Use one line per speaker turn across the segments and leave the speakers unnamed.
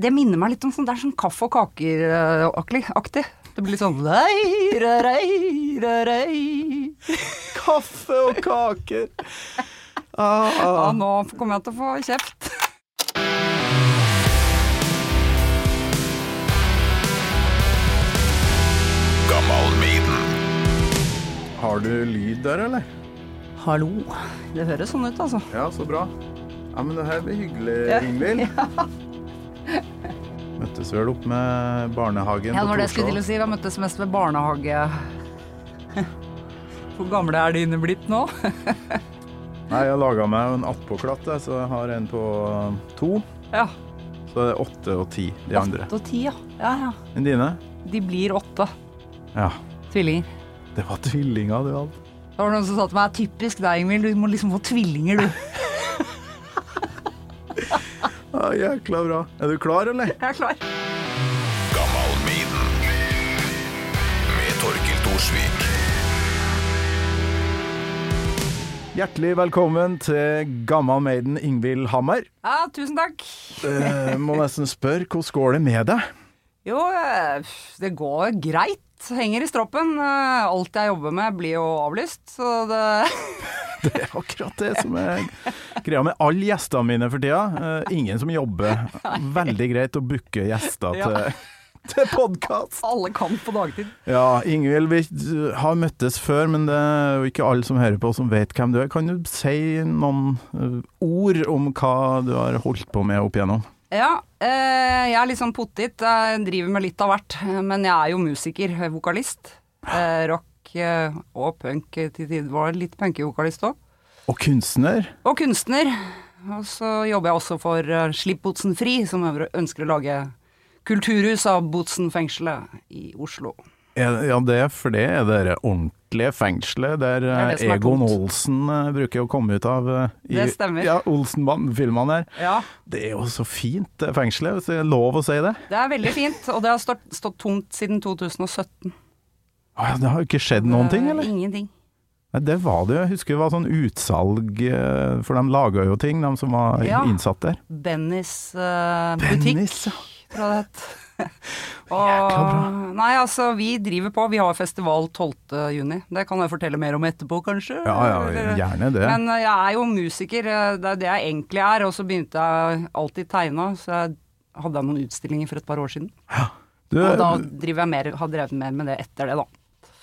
Det minner meg litt om sånn, det er sånn kaffe og kaker-aktig. Det blir litt sånn rei, rei, rei, rei.
Kaffe og kaker. Ah,
Ja,
ah.
nå kommer jeg til å få kjeft.
Har du lyd der, eller?
Hallo. Det høres sånn ut, altså.
Ja, så bra. Ja, men det her blir hyggelig,
Ja.
Ingvild. Møttes vel opp med barnehagen
Ja, det
på
var det jeg skulle til
Torshov.
å si. Vi har møttes mest ved barnehage. Hvor gamle er dine blitt nå?
Nei, jeg laga meg jo en attpåklatt, jeg, så jeg har en på to.
Ja.
Så det er åtte og ti, de andre.
Åtte og ti, ja. ja. ja.
Men dine?
De blir åtte.
Ja.
Tvillinger.
Det var tvillinga du hadde.
Det var noen som sa til meg typisk deg, Emil. Du må liksom få tvillinger, du.
Ja, jækla bra. Er du klar, eller?
Jeg er klar.
Hjertelig velkommen til Gammal Maiden Ingvild Hammer.
Ja, tusen takk.
Eh, må nesten spørre, hvordan går det med deg?
Jo, eh, det går greit. Henger i stroppen. Eh, Alt jeg jobber med blir jo avlyst, så det
Det er akkurat det som er greia med alle gjestene mine for tida. Eh, ingen som jobber. Veldig greit å booke gjester til, til podkast.
Alle kan på dagtid.
Ja, Ingvild, vi har møttes før, men det er jo ikke alle som hører på som vet hvem du er. Kan du si noen eh, ord om hva du har holdt på med opp igjennom?
Ja, eh, jeg er litt sånn pottit. Jeg driver med litt av hvert. Men jeg er jo musiker, vokalist. Eh, rock eh, og punk til tider. Var litt punkevokalist òg.
Og kunstner?
Og kunstner. Og så jobber jeg også for eh, Slipp Botsen fri, som øvre- ønsker å lage kulturhus av Botsen-fengselet i Oslo.
Er- Ja, det er for det er det det ordentlige fengselet der
er det som
eh,
er
Egon
tungt.
Olsen eh, bruker å komme ut av eh, i,
Det stemmer.
Ja, Olsen-filmene her.
Ja,
Det er jo så fint det fengselet, hvis det er lov å si det.
det er veldig fint, og det har stått, stått tomt siden 2017.
Å ja, Det har jo ikke skjedd noen ting,
Eh,
eller?
Ingenting.
Nei, det var det jo. Jeg husker det var sånn utsalg, eh, for de laga jo ting, de som var
Ja.
innsatt der.
Bennys eh, butikk,
Dennis, ja.
tror jeg det het.
Jækla
Og Nei, altså, vi driver på. Vi har festival 12. juni. Det kan jeg fortelle mer om etterpå, kanskje.
Ja, ja,
Eller-
gjerne det.
Men eh, jeg er jo musiker, eh, det er det jeg egentlig er. Og så begynte jeg alltid tegne, så jeg hadde jeg noen utstillinger for et par år siden.
Du, eh,
Og da driver jeg mer, har drevet mer med det etter det, da.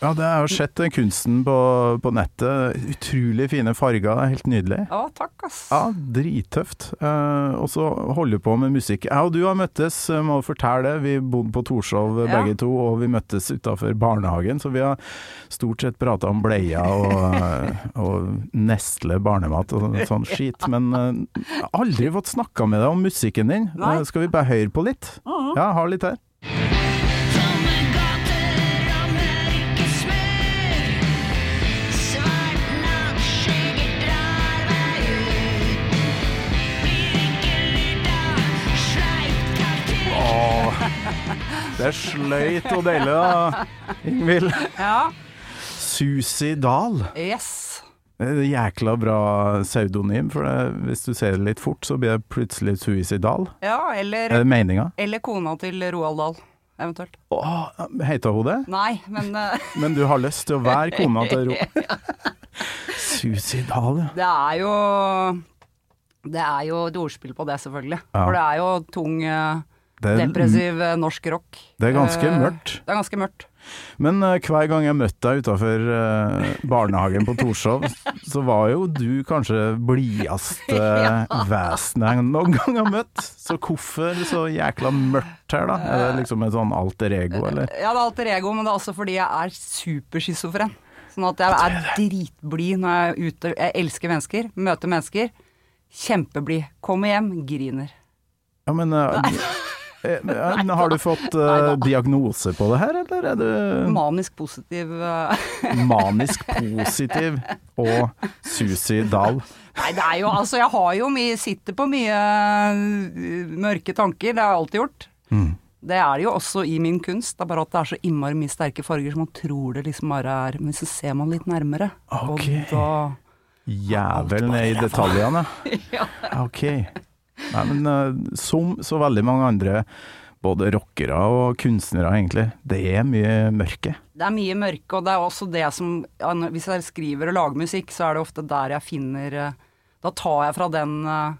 ja, det er jo sett den kunsten på, på nettet. Utrolig fine farger, det er helt nydelig.
Ja, takk, ass.
Ja, drittøft. Eh, og så holder du på med musikk. Jeg og du har møttes, eh, må jeg fortelle det. Vi bodde på Torshov eh,
Ja.
begge to, og vi møttes utafor barnehagen. Så vi har stort sett prata om bleier og, eh, og Nestle barnemat og sånn- sånn skit. Men eh, jeg har aldri fått snakka med deg om musikken din.
Nei.
Eh, skal vi bare høre på litt? Ja, jeg har litt her. Åh, det er sløyt og deilig, da, Ingvild.
Ja.
Susi Dahl.
Yes.
Det er et Jækla bra pseudonym, for det, hvis du ser det litt fort, så blir det plutselig suicidal.
Ja, eller,
Er det meninga?
eller kona til Roald Dahl, eventuelt.
Åh, Heita hun det?
Nei, men eh,
Men du har lyst til å være kona til Ro... Suicidal, ja.
det er jo Det er jo et ordspill på det, selvfølgelig.
Ja.
For det er jo tung, eh,
Det er,
depressiv eh, norsk rock.
det er ganske
Eh,
mørkt.
Det er ganske mørkt.
Men eh, hver gang jeg møtte deg utafor barnehagen på Torshov, så var jo du kanskje blideste vesenet jeg noen gang har møtt. Så hvorfor så jækla mørkt her, da? Er det liksom et sånn alter ego, eller?
Ja, det er alter ego, men det er også fordi jeg er superschizofren. Sånn at jeg er dritblid når jeg er ute. Jeg elsker mennesker, møter mennesker. Kjempeblid. Kommer hjem, griner.
Ja, men eh, eh, eh, men Har du fått eh, diagnose på det her, eller er du
Manisk positiv eh.
manisk positiv og suicidal?
Nei, det er jo Altså, jeg har jo mye Sitter på mye eh, mørke tanker. Det har jeg alltid gjort.
Mm.
Det er det jo også i min kunst. Det er bare at det er så innmari mye sterke farger, så man tror det liksom bare er Men så ser man litt nærmere,
Ok.
og da
Jævelen er i detaljene. Ja, OK. Nei, men eh, som så veldig mange andre, både rockere og kunstnere egentlig, det er mye mørke.
Det er mye mørke, og det er også det som ja, når- Hvis jeg skriver og lager musikk, så er det ofte der jeg finner eh, Da tar jeg fra den, eh,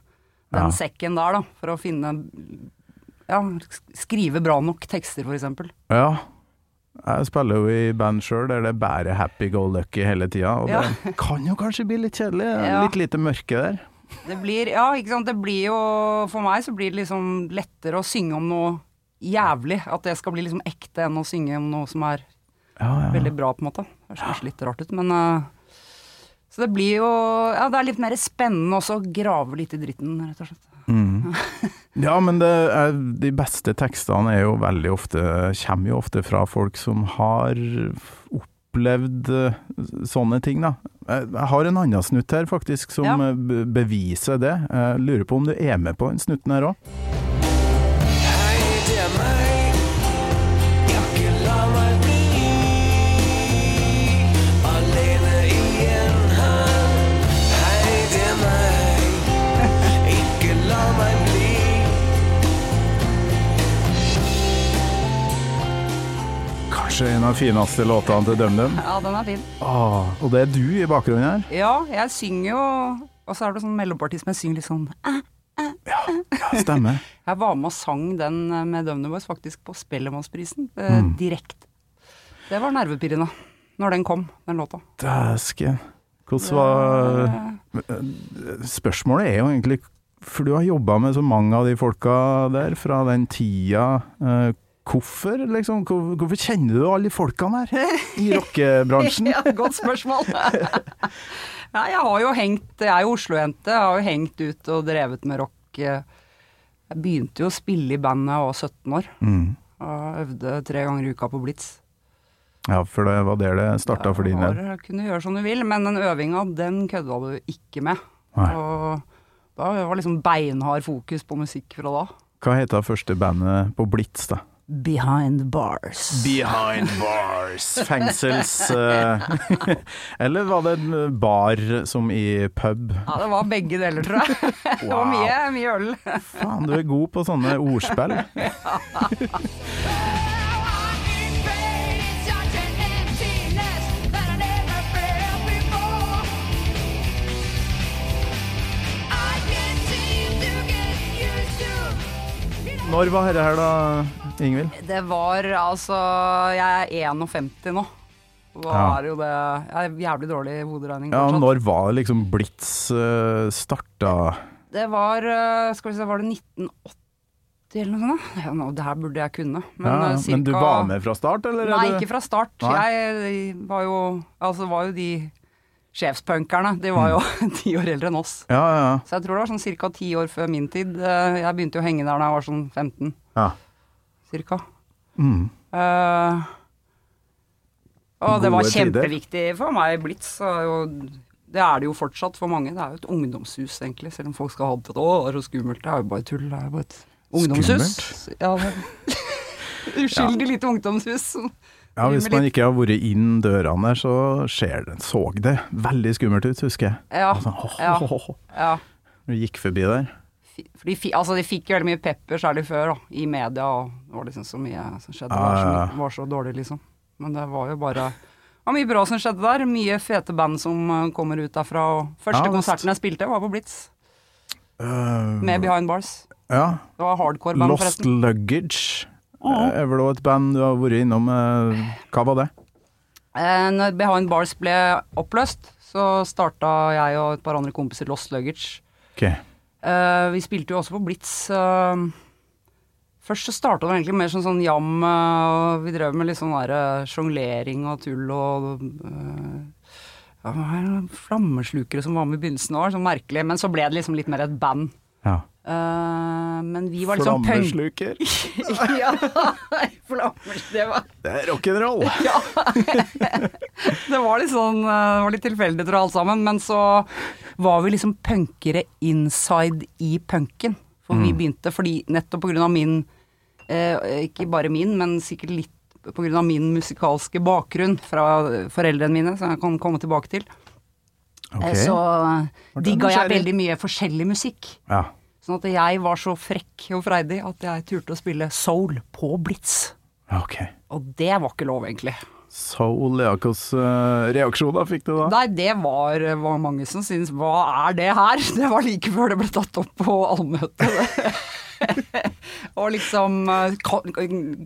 den
Ja.
sekken der, da, for å finne Ja, sk- skrive bra nok tekster, for eksempel.
Ja. Jeg spiller jo i band sjøl der det er bare happy go lucky hele tida, og det kan jo kanskje bli litt kjedelig.
Ja.
Litt lite mørke der.
Det blir Ja, ikke sant. Det blir jo For meg så blir det liksom lettere å synge om noe jævlig. At det skal bli liksom ekte enn å synge om noe som er
Ja, ja.
veldig bra, på en måte. Det høres kanskje litt rart ut, men eh, Så det blir jo Ja, det er litt mer spennende også å grave litt i dritten, rett og slett.
Mm. Ja, men det er, de beste tekstene er jo veldig ofte kommer jo ofte fra folk som har opplevd eh, sånne ting, da. Jeg jeg har en annen snutt her, faktisk, som
Ja.
eh, be- beviser det. Jeg lurer på om du er med på den snutten her òg?
Hei, det er meg. Jeg ikke la meg bli alene igjen her. Hei, det er meg. Ikke la meg bli.
Kanskje en av de fineste låtene til DumDum.
Ja, den er fin.
Ah, og det er du i bakgrunnen her.
Ja, jeg synger jo Og så er det sånn mellomparti som jeg synger litt sånn
Ja, stemmer.
Jeg var med og sang den eh, med Dumner Boys faktisk på Spellemannsprisen, eh, direkte. Det var nervepirrende når den kom, den låta. Eh,
Dæsken. Hvordan var Spørsmålet er jo egentlig For du har jobba med så mange av de folka der fra den tida. eh, Hvorfor, liksom? Hvor- Hvorfor kjenner du alle de folkene her i rockebransjen?
Ja, godt spørsmål. Nei, jeg har jo hengt Jeg er jo Oslo-jente. Jeg har jo hengt ut og drevet med rock. eh. Jeg begynte jo å spille i band da jeg var 17 år.
Mm.
Og øvde tre ganger i uka på Blitz.
Ja, for det var der det starta for din del.
Har- Kunne gjøre som du vil, men den øvinga, den kødda du ikke med.
Nei.
Og da var liksom beinhard fokus på musikk fra da.
Hva heter det første bandet på Blitz, da?
Behind bars.
Behind bars. Fengsels... eh, Eller var det en bar som i pub?
Ja, det var begge deler, tror jeg. Det var mye, mye øl.
Faen, du er god på sånne ordspill. Når var dette her, da, Ingvild?
Det var altså Jeg er 51 nå. Da
Ja.
er jo det Jeg er jævlig dårlig i hoderegning.
Ja,
fortsatt.
når var det liksom Blitz eh, starta?
Det var eh, Skal vi se, var det 1980 eller noe sånt? da? Ja, nå, det her burde jeg kunne. Men,
ja,
eh,
men du
cirka-
var med fra start, eller?
Nei,
er du-
ikke fra start.
Nei.
Jeg var jo Altså, var jo de sjefspunkerne. De var jo
Mm.
ti år eldre enn oss.
Ja, ja,
Så jeg tror det var sånn ca. ti år før min tid. Eh, Jeg begynte jo å henge der da jeg var sånn 15,
ja.
cirka.
Mm.
Eh, og det var
Gode tider.
kjempeviktig for meg. Blitz er jo Det er det jo fortsatt for mange. Det er jo et ungdomshus, egentlig. Selv om folk skal ha det til at 'Å, det er så skummelt'. Det er jo bare tull. Det er jo bare et ungdomshus. Ja, det Uskyldig lite ungdomshus.
ja, hvis man
Rimelig.
ikke har vært inn dørene der, så skjer det. så det veldig skummelt ut, husker jeg.
Ja.
Sånn, åh,
ja,
åh, åh, åh.
ja.
Du gikk forbi der.
Fi- For de, fi- altså, de fikk jo veldig mye pepper, særlig før, da, i media. Og det var liksom så mye som skjedde. Det var så,
Ah, Ja, ja, ja.
mye- var så dårlig, liksom. Men det var jo bare det var mye bra som skjedde der. Mye fete band som eh, kommer ut derfra. Og første
Ja, visst.
konserten jeg spilte, var på Blitz,
Eh,
med Behind Bars.
ja.
Det var hardcore band,
Lost
forresten.
Luggage eh, er vel også et band du har vært innom. eh, Hva var det?
Eh, Når Behind Bars ble oppløst, så starta jeg og et par andre kompiser Lost Luggage.
Ok.
Eh, vi spilte jo også på Blitz. eh, først så starta det egentlig mer som sånn jam. eh, og vi drev med litt sånn der, eh, sjonglering og tull og eh, ja, hva er det, noen Flammeslukere som var med i begynnelsen òg, sånn merkelig. Men så ble det liksom litt mer et band.
Ja.
Eh, men vi var liksom punk...
Flammesluker.
ja, flammers, det var
Det er rock'n'roll.
Det var litt sånn eh, Det var litt tilfeldig, tror jeg, alt sammen. Men så var vi liksom punkere inside i punken. For
Mm.
vi begynte fordi nettopp på grunn av min eh, Ikke bare min, men sikkert litt på grunn av min musikalske bakgrunn fra foreldrene mine, som jeg kan komme tilbake til, eh,
Ok.
så
Var det
digga jeg
nysgjerrig?
veldig mye forskjellig musikk.
Ja.
Sånn at jeg var så frekk og freidig at jeg turte å spille soul på blitz.
Ok.
Og det var ikke lov, egentlig.
Soul Leakos reaksjoner fikk du eh, da?
Nei, det var, var mange som syntes Hva er det her? Det var like før det ble tatt opp på allmøte. det. og liksom eh, ka-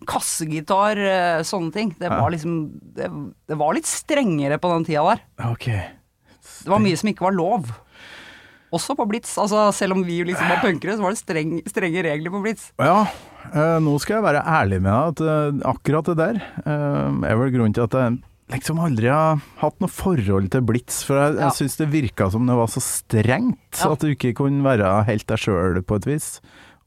kassegitar, eh, sånne ting. Det var liksom det, det var litt strengere på den tida der.
Ok.
Det var mye som ikke var lov. Også på Blitz. Altså, selv om vi liksom var punkere, så var det streng, strenge regler på Blitz.
Ja, eh, nå skal jeg være ærlig med deg at eh, akkurat det der eh, er vel grunnen til at jeg liksom aldri har hatt noe forhold til Blitz, for jeg,
Ja.
jeg syns det virka som det var så strengt
Ja.
at du ikke kunne være helt deg sjøl på et vis.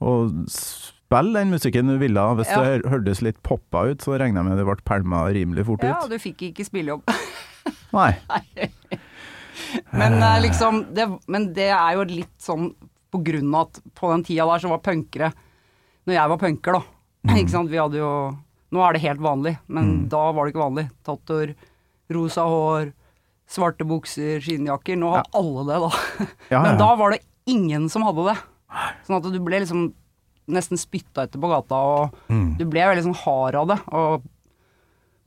Og spille den musikken du ville. Hvis
Ja.
det hør- hørtes litt poppa ut, så regner jeg med det ble pælma rimelig fort
Ja,
ut.
du fikk ikke spillejobb.
Nei.
Men eh, liksom det, Men det er jo litt sånn på grunn av at på den tida der så var punkere Når jeg var punker, da.
Mm.
Ikke sant? Vi hadde jo Nå er det helt vanlig, men da var det ikke vanlig. Tattor, rosa hår, svarte bukser, skinnjakker. Nå har alle det, da.
Ja, ja.
Men da var det ingen som hadde det. Sånn at du ble liksom nesten spytta etter på gata, og du ble veldig sånn hard av det. Og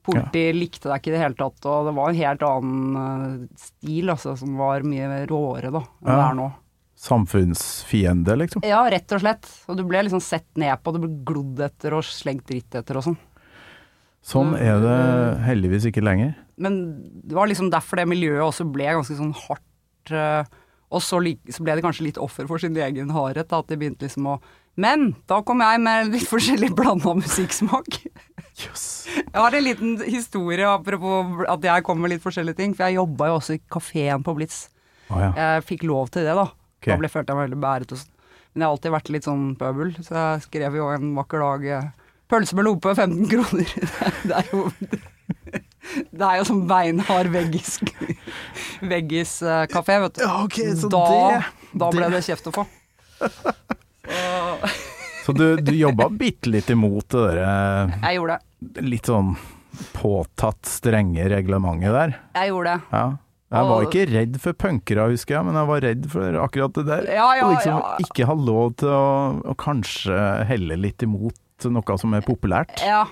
Politi likte deg ikke i det hele tatt, og det var en helt annen eh, stil altså, som var mye råere da, enn det
Ja.
er nå.
Samfunnsfiende, liksom.
Ja, rett og slett. Og du ble liksom sett ned på, du ble glodd etter og slengt dritt etter og sånn.
Sånn er det
Mm.
heldigvis ikke lenger.
Men det var liksom derfor det miljøet også ble ganske sånn hardt. eh, Og så, lik- så ble det kanskje litt offer for sin egen hardhet, da, at de begynte liksom å Men da kom jeg med litt forskjellig blanda musikksmak.
Yes.
Jeg har en liten historie apropos at jeg kom med litt forskjellige ting. For jeg jobba jo også i kafeen på Blitz.
Å ja.
Jeg fikk lov til det, da.
Ok.
Da ble, følte jeg meg veldig bæret. Og sånn. Men jeg har alltid vært litt sånn pøbel, så jeg skrev jo en vakker dag eh, 'Pølse med lompe, 15 kroner'. Det er jo Det er jo sånn beinhard veggis veggiskafé, vet du.
Ja, ok, så
da,
det-
da ble
det-
det kjeft å få. Så
Så du, du jobba bitte litt imot det derre
jeg gjorde det.
litt sånn påtatt strenge reglementet der.
Jeg gjorde det.
Ja. Jeg var
Og-
ikke redd for punkere, husker jeg, men jeg var redd for akkurat det der.
Ja, ja,
Å liksom
ja.
ikke ha lov til å, å kanskje helle litt imot noe som er populært.
Ja.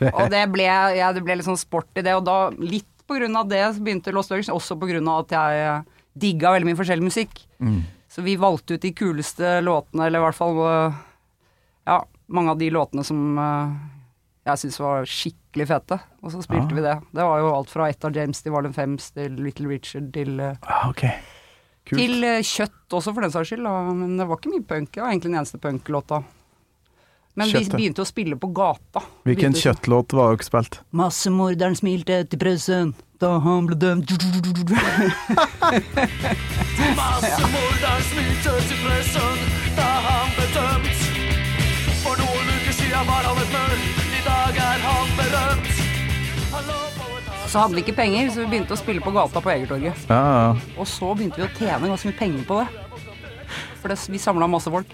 Og det ble, ja, det ble litt sånn sport i det, og da litt på grunn av det så begynte Lost Luggage, også på grunn av at jeg eh, digga veldig mye forskjellig musikk.
Mm.
Så vi valgte ut de kuleste låtene, eller i hvert fall eh, ja, mange av de låtene som eh, jeg syntes var skikkelig fete, og så spilte
Ah.
vi det. Det var jo alt fra ett av James til Varlem Fems til Little Richard til eh,
Ah, ok. Kult.
til eh, kjøtt også, for den saks skyld. Da. Men det var ikke mye punk. Det var egentlig den eneste punklåta. Men
Kjøttet.
vi begynte å spille på gata.
Hvilken
Begynte-
kjøttlåt var dere spilt?
Massemorderen smilte til pressen da han ble dømt.
Massemorderen smilte til pressen da han ble dømt. For noen uker siden var han et mørk, i dag er han berømt. Han lå på et tak
Så hadde vi ikke penger, så vi begynte å spille på gata på Egertorget.
Ja, ja.
Og så begynte vi å tjene ganske mye penger på det. For det, vi samla masse folk.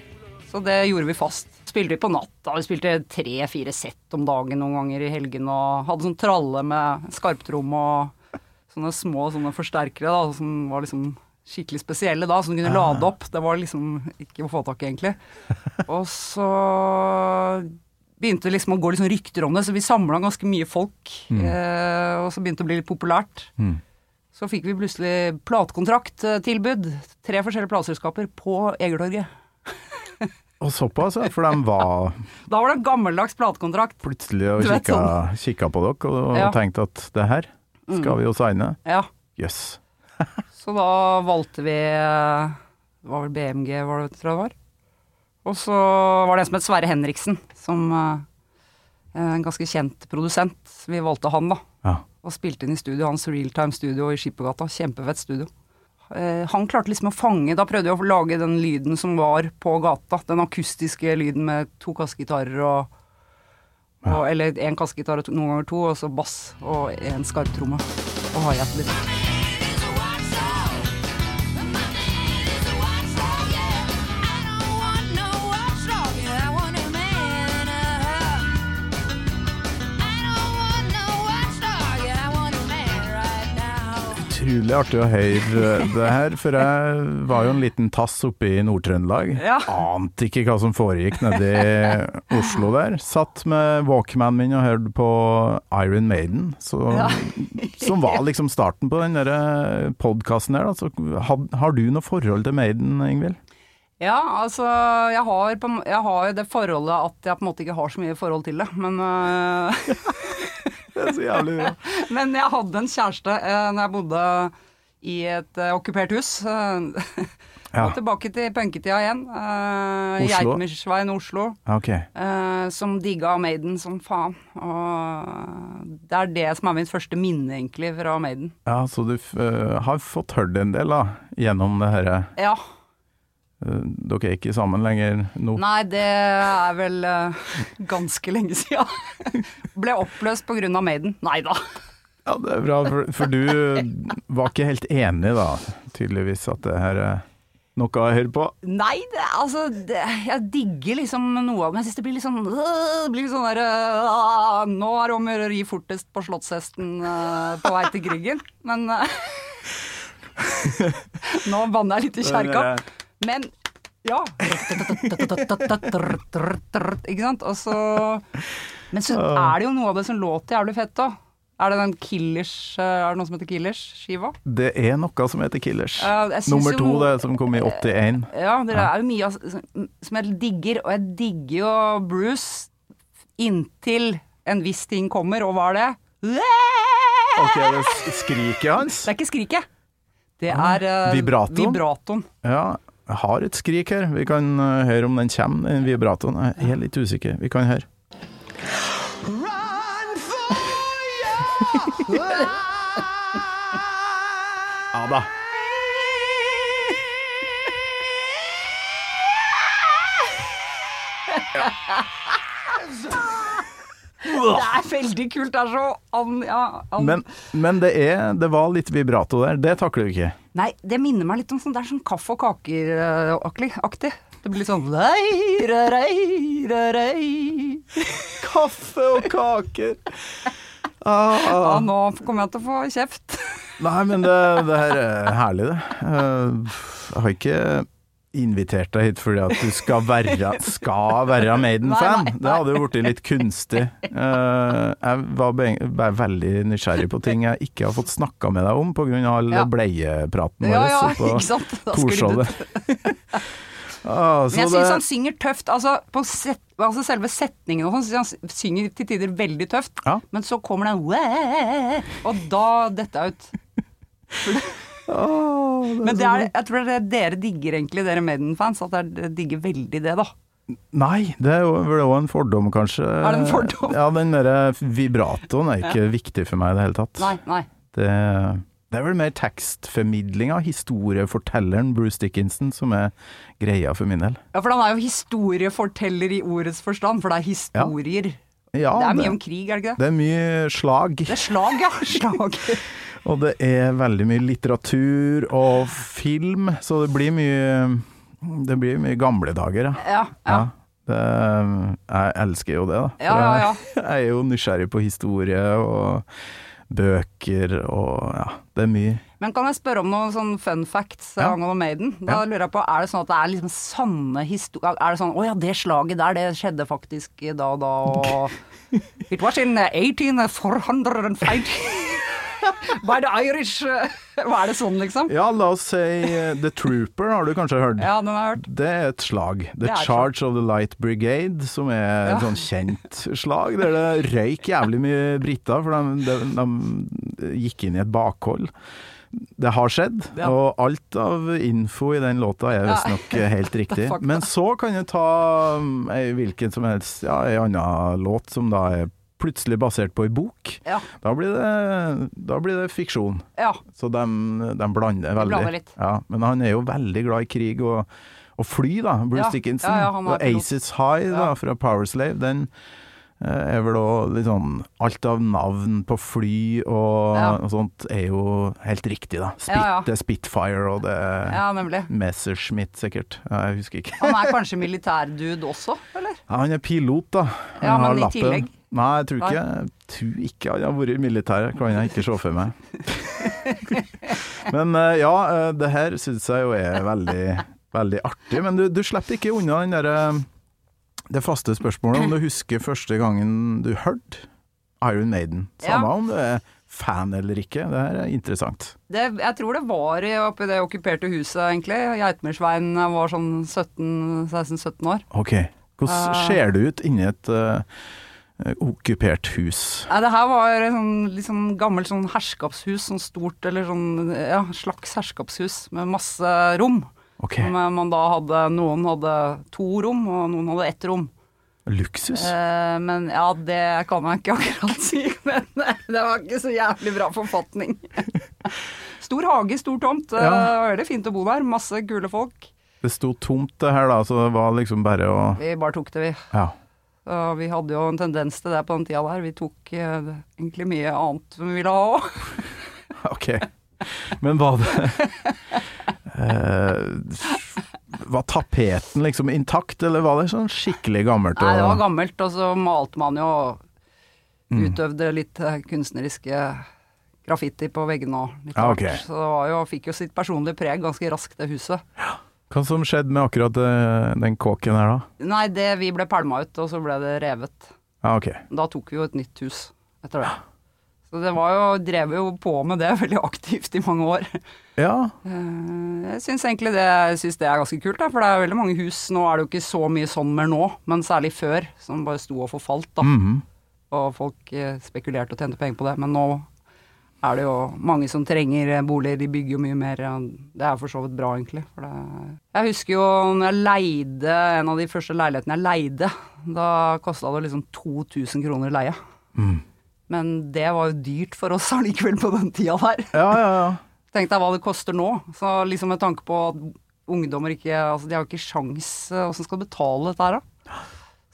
Så det gjorde vi fast. Spilte vi på natta, vi spilte tre-fire sett om dagen noen ganger i helgen, og hadde sånn tralle med skarptrom og sånne små sånne forsterkere da, som var liksom skikkelig spesielle da, som du kunne lade opp. Det var liksom ikke å få tak i, egentlig. Og så begynte det liksom å gå litt sånn rykter om det, så vi samla ganske mye folk. Eh, og så begynte det å bli litt populært. Så fikk vi plutselig platekontrakttilbud. Tre forskjellige plateselskaper på Egertorget.
Og såpass, ja. For de var
Da var det en gammeldags platekontrakt.
plutselig og
Du vet sånn.
kikka, kikka på dere og, og
Ja. Mm.
tenkte at det her skal vi jo signe.
Ja.
Jøss. Yes.
Så da valgte vi eh, Det var vel BMG, var det, tror jeg det var. Og så var det en som het Sverre Henriksen, som eh, en ganske kjent produsent. Vi valgte han, da.
Ja.
og spilte inn i studio, hans realtime studio i Skippergata. Kjempefett studio. Eh, han klarte liksom å fange Da prøvde jeg å lage den lyden som var på gata. Den akustiske lyden med to kassegitarer og, og Eller én kassegitar og to, noen ganger to, og så bass og en skarptromme. Og hi-hat litt.
I don't want no watchdog, and I want a man right now.
utrolig artig å høre eh, det her, for jeg var jo en liten tass oppe i Nord-Trøndelag.
Ja.
Ante ikke hva som foregikk nede i Oslo der. Satt med walkmanen min og hørte på Iron Maiden, så, som var liksom starten på den der podkasten her. Da. Så, had, har du noe forhold til Maiden, Ingvild?
Ja, altså jeg har, på, en må- jeg har jo det forholdet at jeg på en måte ikke har så mye forhold til det, men øh,
Det er så jævlig bra.
Men jeg hadde en kjæreste eh, når jeg bodde i et eh, okkupert hus. Eh,
Ja.
Og tilbake til punketida igjen. Eh,
Oslo.
i Geitmyrsveien, Oslo.
Ok.
Eh, som digga Maiden som faen. Og det er det som er mitt første minne, egentlig, fra Maiden.
Ja, så du f eh, har fått hørt en del, da, gjennom det herre. eh,
Ja.
Dere er ikke sammen lenger nå?
Nei, det er vel eh, ganske lenge sia. Ble oppløst på grunn av Maiden. Nei da.
Ja, det er bra, for, for du var ikke helt enig da, tydeligvis, at det her er noe å høre på.
Nei, det, altså det, Jeg digger liksom noe av det, men jeg syns det blir litt sånn øh, Det blir litt sånn derre øh, Nå er det om å gjøre å ri fortest på Slottshesten øh, på vei til Gryggen, men øh, Nå banner jeg litt i kjerka. Men ja. Ikke sant? Og så Men så er det jo noe av det som låter jævlig fett òg. Er det den Killers øh, Er det noe som heter Killers-skiva?
Det er noe som heter Killers.
Ja, jeg synes
Nummer
jo- Eh,
to, det som kom i 81.
Ja, det er jo mye av- som som jeg digger, og jeg digger jo Bruce inntil en viss ting kommer, og hva er det?
Ok, det er skriket hans.
Det er ikke skriket. Det er eh,
Vibratoen?
vibratoen.
Ja, jeg har et skrik her. Vi kan eh, høre om den kommer, den vibratoen. Jeg er litt usikker. Vi kan høre. Ja da.
Det er veldig kult. Det er så an, ja, an.
Men, men det, er, det var litt vibrato der. Det takler du ikke.
Nei, det minner meg litt om sånn Det er sånn kaffe og kaker-aktig. Det blir litt sånn rei, rei, rei, rei, rei.
Kaffe og kaker. Ah.
Ja, nå kommer jeg til å få kjeft.
Nei, men det, det her er herlig, det. Eh, Jeg har ikke invitert deg hit fordi at du skal være, skal være Maiden-fan.
Nei, nei, nei.
Det hadde jo blitt litt kunstig. Eh, Jeg var be- bare veldig nysgjerrig på ting jeg ikke har fått snakka med deg om pga. all
Ja.
bleiepraten vår.
Ja, ja,
oppe på
ikke sant? Da skulle du
Torshov. Ah, så
Men jeg syns han
det-
synger tøft. Altså, på set, altså selve setningen og sånn, synes jeg han synger til tider veldig tøft.
Ja.
Men så kommer den «Wæ», Og da detter jeg ut.
Åh, det-
Men det er, jeg tror det er det dere digger egentlig, dere Maiden-fans. At dere- dere digger veldig det, da.
Nei, det er jo vel også en fordom, kanskje.
Er det en fordom?
Ja, den derre vibratoen er ikke viktig for meg i det hele tatt.
Nei, nei.
Det, det er vel mer tekstformidlinga, historiefortelleren Bruce Dickinson, som er greia for min del.
Ja, For han er jo historieforteller i ordets forstand, for det er historier.
Ja,
det er mye om krig, er det ikke det?
det er mye slag,
Det er slag, ja. Slag.
og det er veldig mye litteratur og film, så det blir mye, det blir mye gamle dager, ja.
Ja, ja.
Ja, Det, jeg elsker jo det, da.
Ja, ja, ja.
For Jeg, jeg er jo nysgjerrig på historie og bøker og ja, det er mye.
Men kan jeg spørre om noen sånn fun facts
Ja.
angående Maiden? Da
Ja.
lurer jeg på, Er det sånn at det er liksom sanne historier Er det sånn 'Å ja, det slaget der, det skjedde faktisk da og da', og It was in eh, 1850 by the Irish Hva er det sånn, liksom?
Ja, la oss si eh, The Trooper har du kanskje hørt?
Ja, den har jeg hørt.
Det er et slag. The
Det er et
Charge of the Light Brigade, som er et sånn kjent slag, der det røyk jævlig mye briter, for de, de, de gikk inn i et bakhold. Det har skjedd,
Ja.
og alt av info i den låta er visstnok eh, helt riktig.
Fakta.
Men så kan du ta um, ei hvilken som helst ja, ei anna låt som da er plutselig basert på ei bok.
Ja.
Da blir det, da blir det fiksjon.
ja.
Så de, de blander veldig.
blander litt.
Ja, men han er jo veldig glad i krig og, og fly, da. Bruce
Ja,
Dickinson.
ja, ja, han er
og
pilot.
Aces High da, fra Powerslave, den eh, er vel òg litt sånn Alt av navn på fly og,
Ja.
og sånt er jo helt riktig, da. Spit,
Ja, ja.
Det er Spitfire og det er
Ja, nemlig.
Messerschmitt, sikkert. Ja, jeg husker ikke.
Han er kanskje militærdude også, eller?
Ja, han er pilot, da. Han
Ja, men
har
i
lappen.
tillegg?
Nei, jeg tror ikke, jeg tror ikke han har vært i militæret. Kan jeg ikke se for meg. Men eh, ja, eh, det her syns jeg jo er veldig, veldig artig. Men du, du slipper ikke unna den derre det faste spørsmålet om du husker første gangen du hørte Iron Maiden. Samme
Ja.
om du er fan eller ikke, det her er interessant.
Det, jeg tror det var i- oppe i det okkuperte huset, egentlig. Geitmyrsveien jeg var sånn 16-17 år.
Ok,
Ah.
hvordan ser det ut inni et eh, okkupert hus?
Nei, det her var et sånn, litt sånn gammelt sånn herskapshus, sånn stort eller sånn ja, slags herskapshus med masse rom.
Ok,
Som eh, man da hadde Noen hadde to rom, og noen hadde ett rom.
luksus.
Eh, men ja, det kan jeg ikke akkurat si. Men eh, det var ikke så jævlig bra forfatning. Stor hage, stor tomt. eh, Det
Ja.
var veldig fint å bo der. Masse kule folk.
Det sto tomt det her da, så det var liksom bare å
Vi bare tok det, vi.
Ja.
Og vi hadde jo en tendens til det på den tida der. Vi tok eh, egentlig mye annet som vi ville ha òg.
Ok. Men var det Eh, Var tapeten liksom intakt, eller var det sånn skikkelig gammelt?
Nei, det var
og-
gammelt, og så malte man jo og
Mm.
utøvde litt eh, kunstneriske graffiti på veggene og litt
Ja,
av
ok.
hvert. Så det var jo, fikk jo sitt personlige preg ganske raskt, det huset.
Hva som skjedde med akkurat eh, den kåken her, da?
Nei, det, vi ble pælma ut, og så ble det revet.
Ja, ok.
Da tok vi jo et nytt hus etter det. Så det var jo, drev jo på med det veldig aktivt i mange år.
Ja,
Eh, Jeg syns egentlig det, jeg synes det er ganske kult, da, for det er veldig mange hus Nå er det jo ikke så mye sånn mer nå, men særlig før, som bare sto og forfalt. da.
mhm.
Og folk eh, spekulerte og tjente penger på det. Men nå er det jo mange som trenger eh, boliger, de bygger jo mye mer. og Det er for så vidt bra, egentlig. For det jeg husker jo når jeg leide en av de første leilighetene jeg leide, da kosta det liksom 2000 kroner leie. Men det var jo dyrt for oss allikevel på den tida der.
ja, ja. ja.
Tenk deg hva det koster nå. Så liksom med tanke på at ungdommer ikke Altså, de har jo ikke sjans eh, Hvordan skal du betale dette her, da?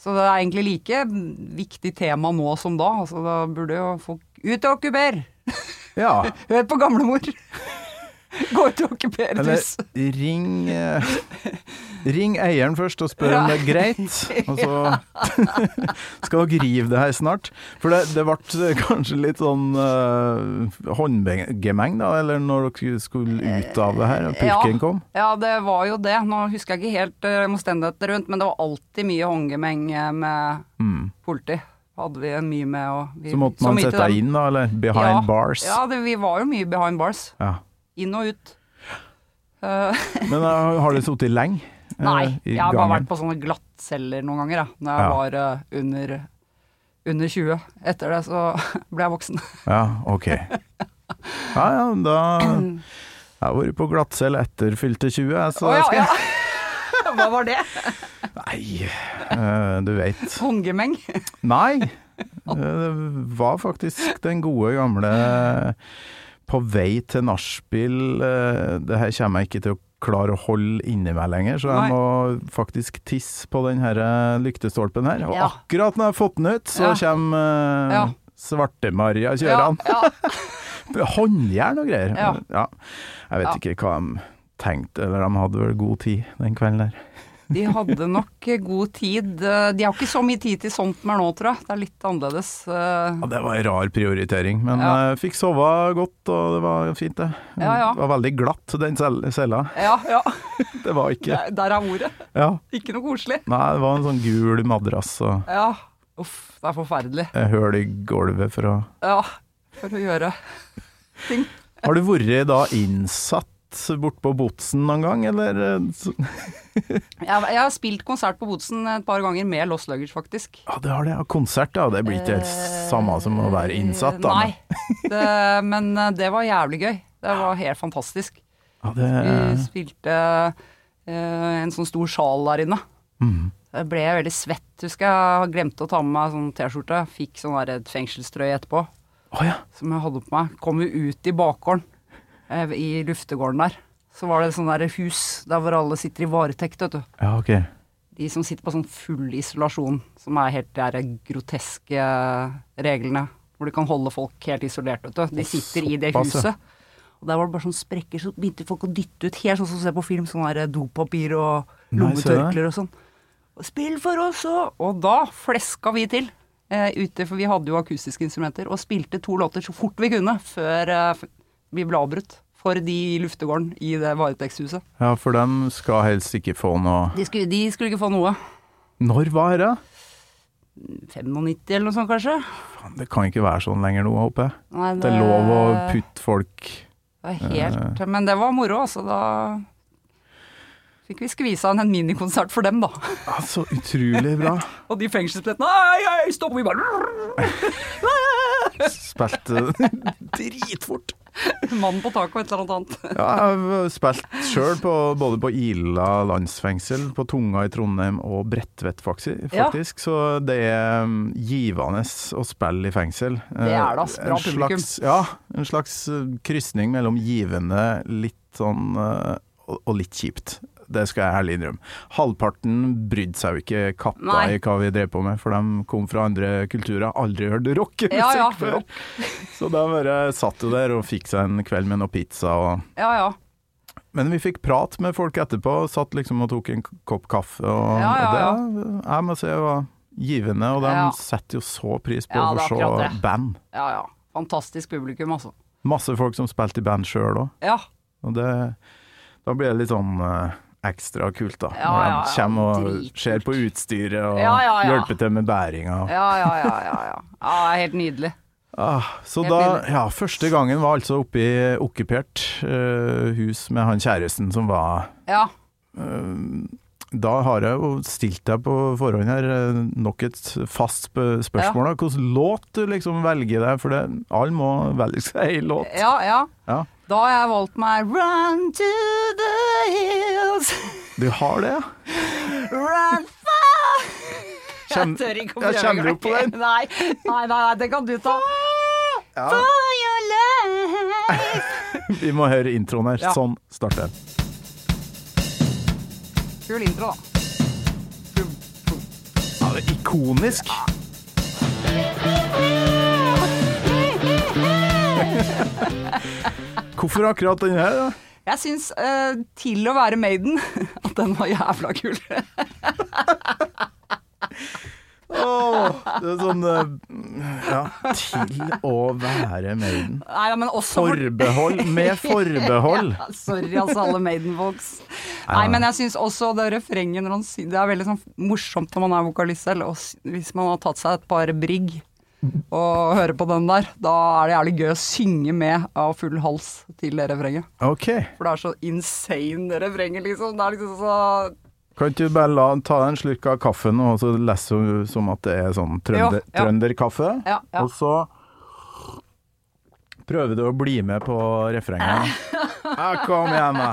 Så det er egentlig like viktig tema nå som da. Altså, da burde jo folk Ut og okkuper!
ja.
Hør på gamlemor! Gå ut og okkuper et
Eller
hus.
ring eh, Ring eieren først og spør om det er greit, og så skal dere rive det her snart. For det, det ble eh, kanskje litt sånn eh, håndgemeng, da, eller når dere skulle ut av det her, og purken kom?
Eh, Ja, det var jo det. Nå husker jeg ikke helt eh, omstendigheter rundt, men det var alltid mye håndgemeng eh, med politi. Hadde vi mye med å vi-
Mm. Så måtte man
mye til
sette
dem.
deg inn, da, eller behind
ja.
bars.
Ja, det, vi var jo mye behind bars.
Ja.
Inn og ut. Eh,
Men eh, har du sittet lenge? eh,
nei,
i
jeg har bare
gangen?
vært på sånne glattceller noen ganger, da når jeg
Ja.
var eh, under, under 20. Etter det så ble jeg voksen.
Ja, ok. Ja ja, da Jeg har vært på glattcelle etter fylte 20, jeg, så
Å
jeg
ja,
skal
ja. Hva var det?
Nei, eh, du veit.
Håndgemeng?
Nei, eh, det var faktisk den gode gamle på vei til nachspiel. eh, Det her kommer jeg ikke til å klare å holde inni meg lenger, så jeg
Nei.
må faktisk tisse på den her eh, lyktestolpen her. Og
Ja.
akkurat når jeg har fått den ut, så
Ja.
kommer
Ja.
eh, Svarte-Maria kjørende.
Ja, ja.
Håndjern og greier.
Ja.
Ja. Jeg vet ikke hva de tenkte, eller de hadde vel god tid den kvelden der.
De hadde nok god tid. Eh, De har ikke så mye tid til sånt mer nå, tror jeg. Det er litt annerledes. eh.
Ja, det var en rar prioritering, men
Ja.
jeg fikk sove godt, og det var fint, det.
Ja, ja.
Det var veldig glatt, den cell- cella.
Ja, ja.
Det var ikke
Der- Der er ordet.
Ja.
Ikke noe koselig.
Nei, det var en sånn gul madrass og
Ja. Uff, det er forferdelig.
et høl i gulvet for å
Ja, for å gjøre ting.
Har du vært da innsatt bort på Botsen noen gang, eller eh, så-
Jeg, jeg har spilt konsert på Bodsen et par ganger med Lost Luggage, faktisk.
Ja, det har det. Ja, Konsert, ja. Det blir ikke helt samme som å være innsatt, da. men-
Eh, Nei, det, men eh, det var jævlig gøy. Det var helt fantastisk.
Ja,
Vi
det,
spilte eh, en sånn stor sjal der inne.
Mhm.
Jeg ble veldig svett, husker jeg. Jeg Glemte å ta med meg sånn T-skjorte. Fikk sånn der et fengselstrøye etterpå,
Å ja.
som jeg hadde på meg. Kom jo ut i bakgården, eh, i luftegården der. Så var det sånn der hus der hvor alle sitter i varetekt, vet du.
Ja, ok.
de som sitter på sånn full isolasjon, som er helt de her groteske reglene, hvor du kan holde folk helt isolert, vet du. De sitter i det
såpass, ja.
huset. Og der var det bare sånn sprekker, så begynte folk å dytte ut, helt sånn som du ser på film, sånn her dopapir og
Nei, se der.
lommetørklær og sånn. Og spill for oss òg! Og da fleska vi til. eh, ute, for vi hadde jo akustiske instrumenter, og spilte to låter så fort vi kunne før, eh, f- vi ble avbrutt for de i luftegården i det varetektshuset.
Ja, for dem skal helst ikke få noe
De skulle, de skulle ikke få noe.
Når var det?
95 eller noe sånt, kanskje?
Faen, Det kan ikke være sånn lenger nå, håper jeg.
Nei,
Det er lov å
Eh.
putte folk
det var helt, Men det var moro, altså. Da fikk vi skvisa inn en minikonsert for dem, da.
Ja, Ah, Så utrolig bra.
Og de fengselsbillettene Ei, ei, stopp! Og vi bare
Spilte dritfort.
Mannen på taket og et eller annet annet.
Ja, jeg har spilt sjøl på, både på Ila landsfengsel, på Tunga i Trondheim og Bredtvet, faktisk.
Ja.
faktisk. Så det er mm, givende å spille i fengsel. Eh,
Det er det, ass. Bra
en
publikum.
Slags, ja, en slags eh, krysning mellom givende, litt sånn eh, og, og litt kjipt. Det skal jeg ærlig innrømme. Halvparten brydde seg jo ikke katta
Nei.
i hva vi drev på med, for de kom fra andre kulturer, aldri hørt rockemusikk
Ja, ja.
før. Så da bare satt jo der og fikk seg en kveld med noe pizza og
Ja, ja.
men vi fikk prat med folk etterpå, satt liksom og tok en k- kopp kaffe.
Ja,
Og
ja, ja.
det jeg må si var givende, og de
Ja.
setter jo så pris på
Ja,
å
det er
få
akkurat
se
det.
band.
ja, ja. Fantastisk publikum, altså.
Masse folk som spilte i band sjøl òg,
Ja.
og det, da blir det litt sånn eh, ekstra kult, da.
Ja, ja,
Når de
ja,
kommer og
dritkult.
ser på utstyret og
Ja, ja, ja.
hjelper til med bæringa.
Ja, ja, ja. ja, ja. ja det er helt nydelig.
Ah, så
Helt
da,
nydelig.
ja, første gangen var altså oppe i okkupert eh, hus med han kjæresten som var
Ja.
Eh, Da har jeg jo stilt deg på forhånd her eh, nok et fast sp- spørsmål. da. Hvilken låt du liksom velger deg? For det, alle må velge seg ei låt.
ja, ja.
Ja.
Da har jeg valgt meg Run to the hills,
Du har det, ja?
run far
Kjem- Ja, kjenner du på den?
Nei. nei, nei, nei, det kan du ta. For your life.
Vi må høre introen her.
Ja.
Sånn starter den.
Kul intro, da.
Ja, det er ikonisk. Hvorfor akkurat den her, da?
Jeg syns eh, til å være Maiden at den var jævla kul.
Åh, det er sånn eh, Ja, til å være Maiden.
Nei, ja, men også for-
Forbehold med forbehold.
Ja, sorry, altså, alle Maiden-folks. Nei, men jeg syns også det refrenget når han synger Det er veldig sånn morsomt når man er vokalist selv, og s- hvis man har tatt seg et par brigg og hører på den der, da er det jævlig gøy å synge med av full hals til det refrenget.
OK.
For det er så insane det refrenget, liksom. Det er liksom så
Kan ikke du bare la, ta deg en slurk av kaffen og så lese som- som at det er sånn trønder,
Jo, ja.
trønderkaffe?
Ja, ja.
Og så prøver du å bli med på refrenget. Ja, kom igjen, da.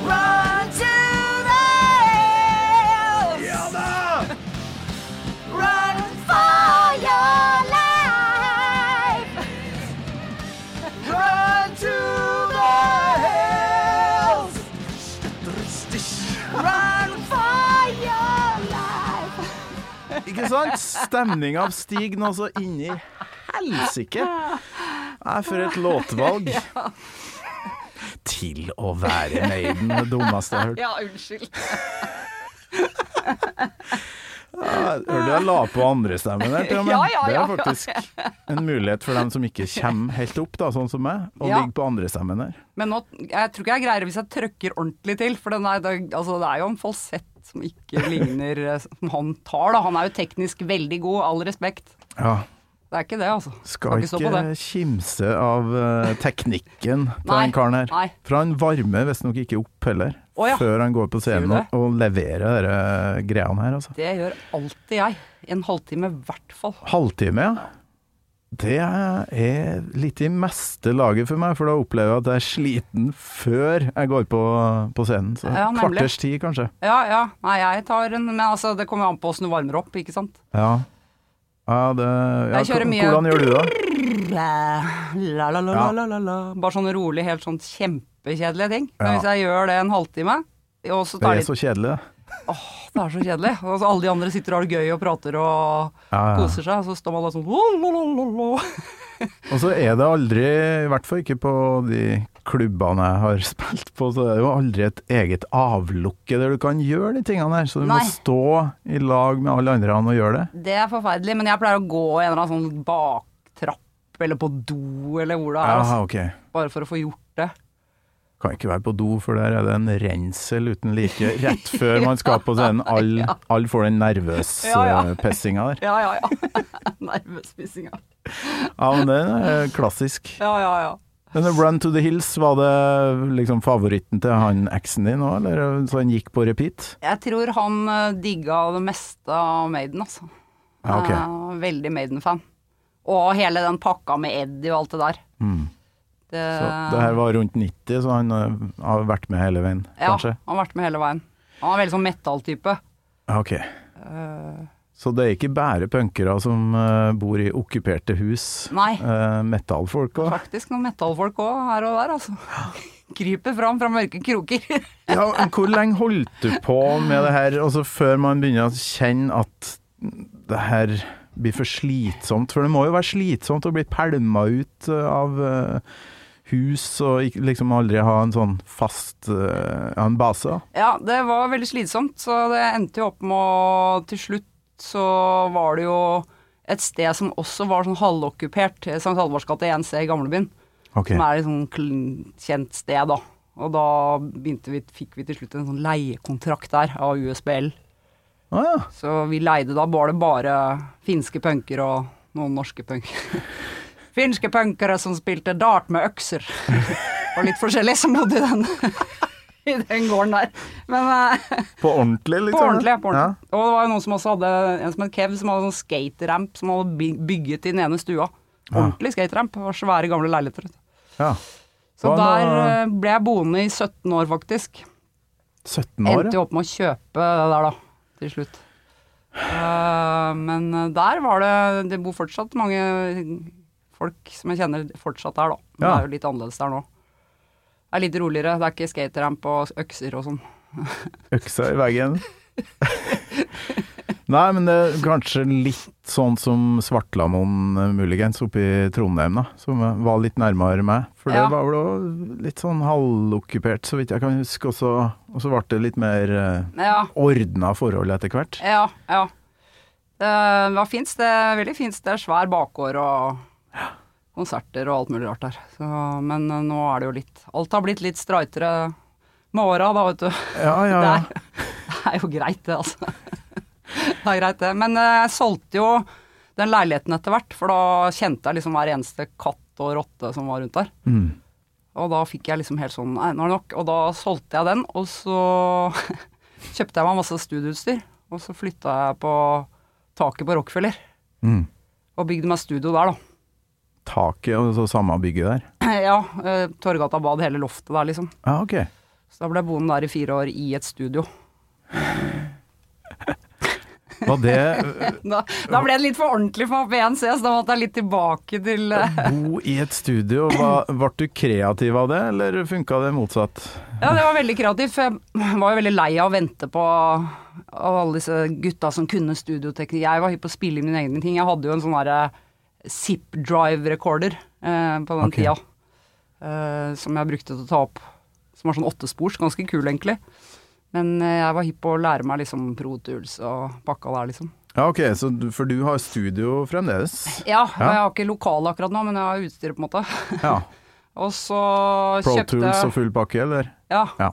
Run to the hills,
Ja da!
run for your life. Run to the hills.
Ikke sant? Stemninga stiger nå så inn i helsike. Nei, for et låtvalg. Til å være Maiden, det dummeste jeg har hørt.
Ja, unnskyld.
Jeg Hørte Ah, jeg la på andrestemmen der, til og med.
Ja, ja, ja, ja.
Det er faktisk en mulighet for dem som ikke kommer helt opp, da, sånn som meg, å
Ja.
ligge på andrestemmen der.
Men nå, jeg tror ikke jeg greier det hvis jeg trøkker ordentlig til, for den er, det, er- altså, det er jo en falsett som ikke ligner eh, Som han tar, da. Han er jo teknisk veldig god, all respekt.
Ja.
Det er ikke det, altså.
Skal
stå på
ikke
det.
kimse av eh, teknikken til
Nei,
den karen her.
nei.
For han varmer visstnok ikke opp heller,
Å, ja.
før han går på scenen
Sier
og, og leverer de greiene her, altså.
Det gjør alltid jeg. En halvtime i hvert fall.
Halvtime, ja. Det er litt i meste laget for meg, for da opplever jeg at jeg er sliten før jeg går på, på scenen. Så
Ja, nemlig.
kvarters tid, kanskje.
Ja, ja. Nei, jeg tar en Men altså, det kommer an på åssen du varmer opp, ikke sant.
Ja. Ja, det, ja,
Jeg kjører
hva-
mye-
Hvordan gjør du det?
La, la, la, la,
Ja.
la, la, la. Bare sånn rolig, helt sånn kjempekjedelige ting. Men
Ja.
hvis jeg gjør det en halvtime, og så
Det
tar
er
det
så kjedelig. det.
Det er så kjedelig. Altså, alle de andre sitter og har det gøy og prater og
Ja, ja.
koser seg, og så står man der sånn «Lololololo».
Og så er det aldri, i hvert fall ikke på de klubbene jeg har spilt på, så er det jo aldri et eget avlukke der du kan gjøre de tingene der. Så du
Nei.
må stå i lag med alle andre og gjøre det.
Det er forferdelig, men jeg pleier å gå i en eller annen sånn baktrapp eller på do, eller hvor det er.
Jaha,
Altså,
ok.
bare for å få gjort det.
Kan ikke være på do, for der er det en rensel uten like rett før man skal på scenen. Alle all får den
Ja, ja.
nervøs-pessinga der.
Ja, ja, ja. Nervespisinga.
Ja, men det er eh, klassisk.
Ja, ja, ja.
Men Run to the Hills, var det liksom favoritten til han eksen din òg, eller eh, så han gikk på repeat?
Jeg tror han eh, digga det meste av Maiden, altså.
Ja, ok.
Eh, Veldig Maiden-fan. Og hele den pakka med Eddie og alt det der. Det,
Så det her var rundt 90, så han eh, har vært med hele veien,
ja,
kanskje?
han har vært med hele veien. Han er veldig sånn metalltype.
Ja, Ok.
Eh.
Så det er ikke bare punkere som eh, bor i okkuperte hus?
Nei.
Eh, Metallfolk òg?
Faktisk noen metallfolk òg, her og der, altså. Kryper fram fra mørke kroker.
Ja, men hvor lenge holdt du på med det her, altså før man begynner å kjenne at det her blir for slitsomt? For det må jo være slitsomt å bli pælma ut eh, av eh, hus og ikke- liksom aldri ha en sånn fast eh, ja, en base. da.
Ja, det var veldig slitsomt, så det endte jo opp med å Til slutt så var det jo et sted som også var sånn halvokkupert, eh, St. Halvors gate 1C i Gamlebyen, som er et sånn kl- kjent sted, da. Og da begynte vi, fikk vi til slutt en sånn leiekontrakt der av USBL.
Ah, ja.
Så vi leide da var det bare finske punker og noen norske punker. Finske punkere som spilte dart med økser og litt forskjellig, som bodde i den, i den gården der. Men eh,
På ordentlig, liksom?
på ordentlig. På
Ja.
ordentlig. Og det var jo noen som også hadde en som het Kev, som hadde sånn skateramp som han hadde by- bygget i den ene stua. Ordentlig skateramp. Det var Svære, gamle leiligheter. vet du.
Ja.
Så
Hva
der
nå-
eh, ble jeg boende i 17 år, faktisk.
17 år,
Endte
ja.
jo opp med å kjøpe det der, da, til slutt. Eh, men der var det Det bor fortsatt mange folk som jeg kjenner fortsatt der, da. Men
Ja.
det er jo litt annerledes der nå. Det er litt roligere. Det er ikke skateramp og økser og sånn.
Øksa i veggen. Nei, men det er kanskje litt sånn som Svartlamoen eh, muligens oppe i Trondheim, da. Som eh, var litt nærmere meg. For
Ja.
det var vel også litt sånn halvokkupert, så vidt jeg kan huske. Og så, og så ble det litt mer eh,
Ja.
ordna forhold etter hvert.
Ja, ja. Det var fint sted, veldig fint sted. Svær bakgård og konserter og alt mulig rart der. Så, men eh, nå er det jo litt Alt har blitt litt straitere med åra, da, vet du.
Ja, ja, ja.
Det, er, det er jo greit, det, altså. Det er greit, det. Men eh, jeg solgte jo den leiligheten etter hvert, for da kjente jeg liksom hver eneste katt og rotte som var rundt der.
Mm.
Og da fikk jeg liksom helt sånn Nei, nå er det nok. Og da solgte jeg den, og så kjøpte jeg meg masse studieutstyr. Og så flytta jeg på taket på Rockefeller
Mm.
og bygde meg studio der, da.
Taket og så samme bygget der.
Ja, eh, Torgata bad, hele loftet der, liksom.
Ja, ok.
Så da ble jeg boende der i fire år i et studio.
Var det
Da, da ble det litt for ordentlig for meg på 1C, så da måtte jeg litt tilbake til eh,
bo i et studio? Var, ble du kreativ av det, eller funka det motsatt?
Ja, det var veldig kreativt, for jeg var jo veldig lei av å vente på av alle disse gutta som kunne studioteknikk. Jeg var hypp på å spille mine egne ting. Jeg hadde jo en sånn derre zip drive recorder eh, på den
Ok.
tida, eh, som jeg brukte til å ta opp. Som var sånn åttespors, ganske kul egentlig. Men eh, jeg var hypp på å lære meg liksom Pro Tools og pakka der, liksom.
Ja, ok, så du, for du har studio fremdeles?
Ja, og jeg har ikke lokale akkurat nå, men jeg har utstyret, på en måte.
Ja.
Og så
Pro
kjøpte
Tools og full pakke, eller?
Ja.
Ja.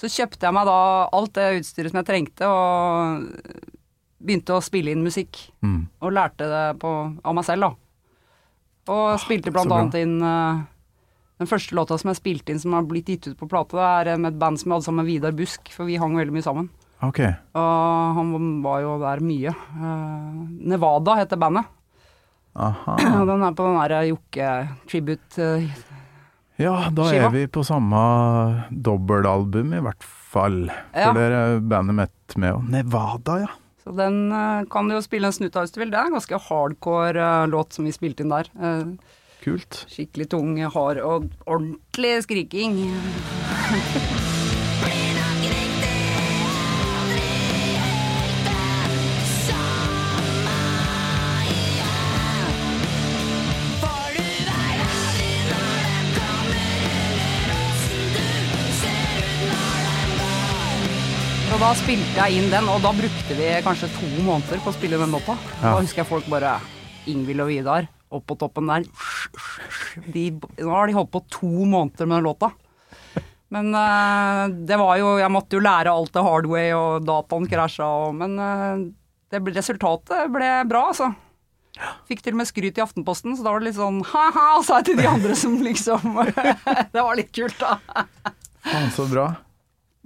Så kjøpte jeg meg da alt det utstyret som jeg trengte, og begynte å spille inn musikk.
Mm.
Og lærte det på, av meg selv, da. Og spilte
Ah, så
blant
bra.
annet inn eh, Den første låta som jeg spilte inn som har blitt gitt ut på plate, det er eh, med et band som jeg hadde sammen med Vidar Busk, for vi hang veldig mye sammen.
Ok.
Og han var jo der mye. Eh, Nevada heter bandet.
Aha.
Og den er på den derre Jokke-tribute. eh,
Ja, da
Skiva.
er vi på samme dobbeltalbum, i hvert fall.
Ja.
For der er bandet mitt med òg. Nevada, ja.
Så den eh, kan du jo spille en snutt av hvis du vil. Det er en ganske hardcore eh, låt som vi spilte inn der. Eh,
Kult.
Skikkelig tung, hard og ordentlig skriking. Og da spilte jeg inn den, og da brukte vi kanskje to måneder på å spille den låta. Da
Ja.
husker jeg folk bare Ingvild og Vidar, opp på toppen der. De, nå har de holdt på to måneder med den låta. Men eh, det var jo Jeg måtte jo lære alt det hardway, og dataen krasja og Men eh, det, ble- resultatet ble bra, altså. Fikk til og med skryt i Aftenposten, så da var det litt sånn ha-ha, sa jeg til de andre som liksom Det var litt kult, da.
Faen, så bra.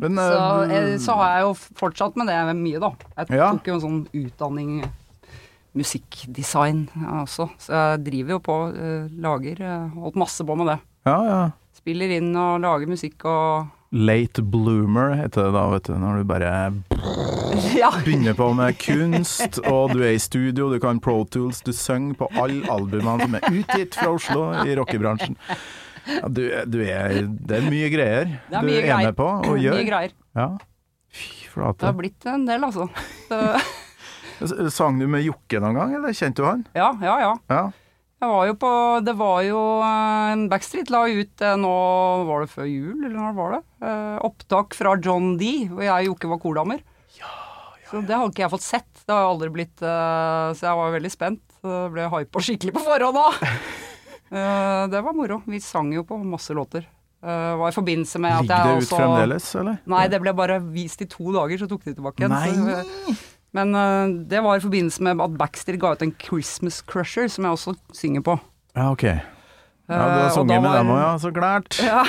Men
Så,
eh,
eh, så har jeg jo fortsatt med det mye, da. Jeg
Ja.
tok jo en sånn utdanning musikkdesign jeg også, så jeg driver jo på, eh, lager eh, Holdt masse på med det.
ja, ja.
Spiller inn og lager musikk og
Late bloomer heter det da, vet du. Når du bare
Ja!
begynner på med kunst, og du er i studio, du kan Pro Tools, du synger på alle albumene som er utgitt fra Oslo i rockebransjen. Ja, du, du er, det er mye greier
Det er
du
mye
er
greier.
med på og gjør.
Mye greier.
Ja. Fy
Det
flate.
har blitt en del, altså. Så,
S- Sang du med Jokke noen gang, eller kjente du han?
ja, ja, ja.
Ja.
Jeg var jo på Det var jo eh, Backstreet la ut eh, nå Var det før jul, eller når var det? Eh, opptak fra John D, hvor jeg og Jokke var kordamer. Så det har ikke jeg fått sett. Det har jeg aldri blitt eh, Så jeg var veldig spent. Så jeg ble hypa skikkelig på forhånd da. Eh, det var moro. Vi sang jo på masse låter. Eh, var i forbindelse med at
Ligger det
jeg
ut
også
fremdeles, eller?
Nei, det ble bare vist i to dager, så tok de tilbake igjen.
Nei!
Så, men eh, det var i forbindelse med at Baxter ga ut en Christmas Crusher, som jeg også synger på.
Ja, ok. Ja, du
Eh,
har
og
sunget
da
med
var-
dem òg, ja. Så klart.
Ja.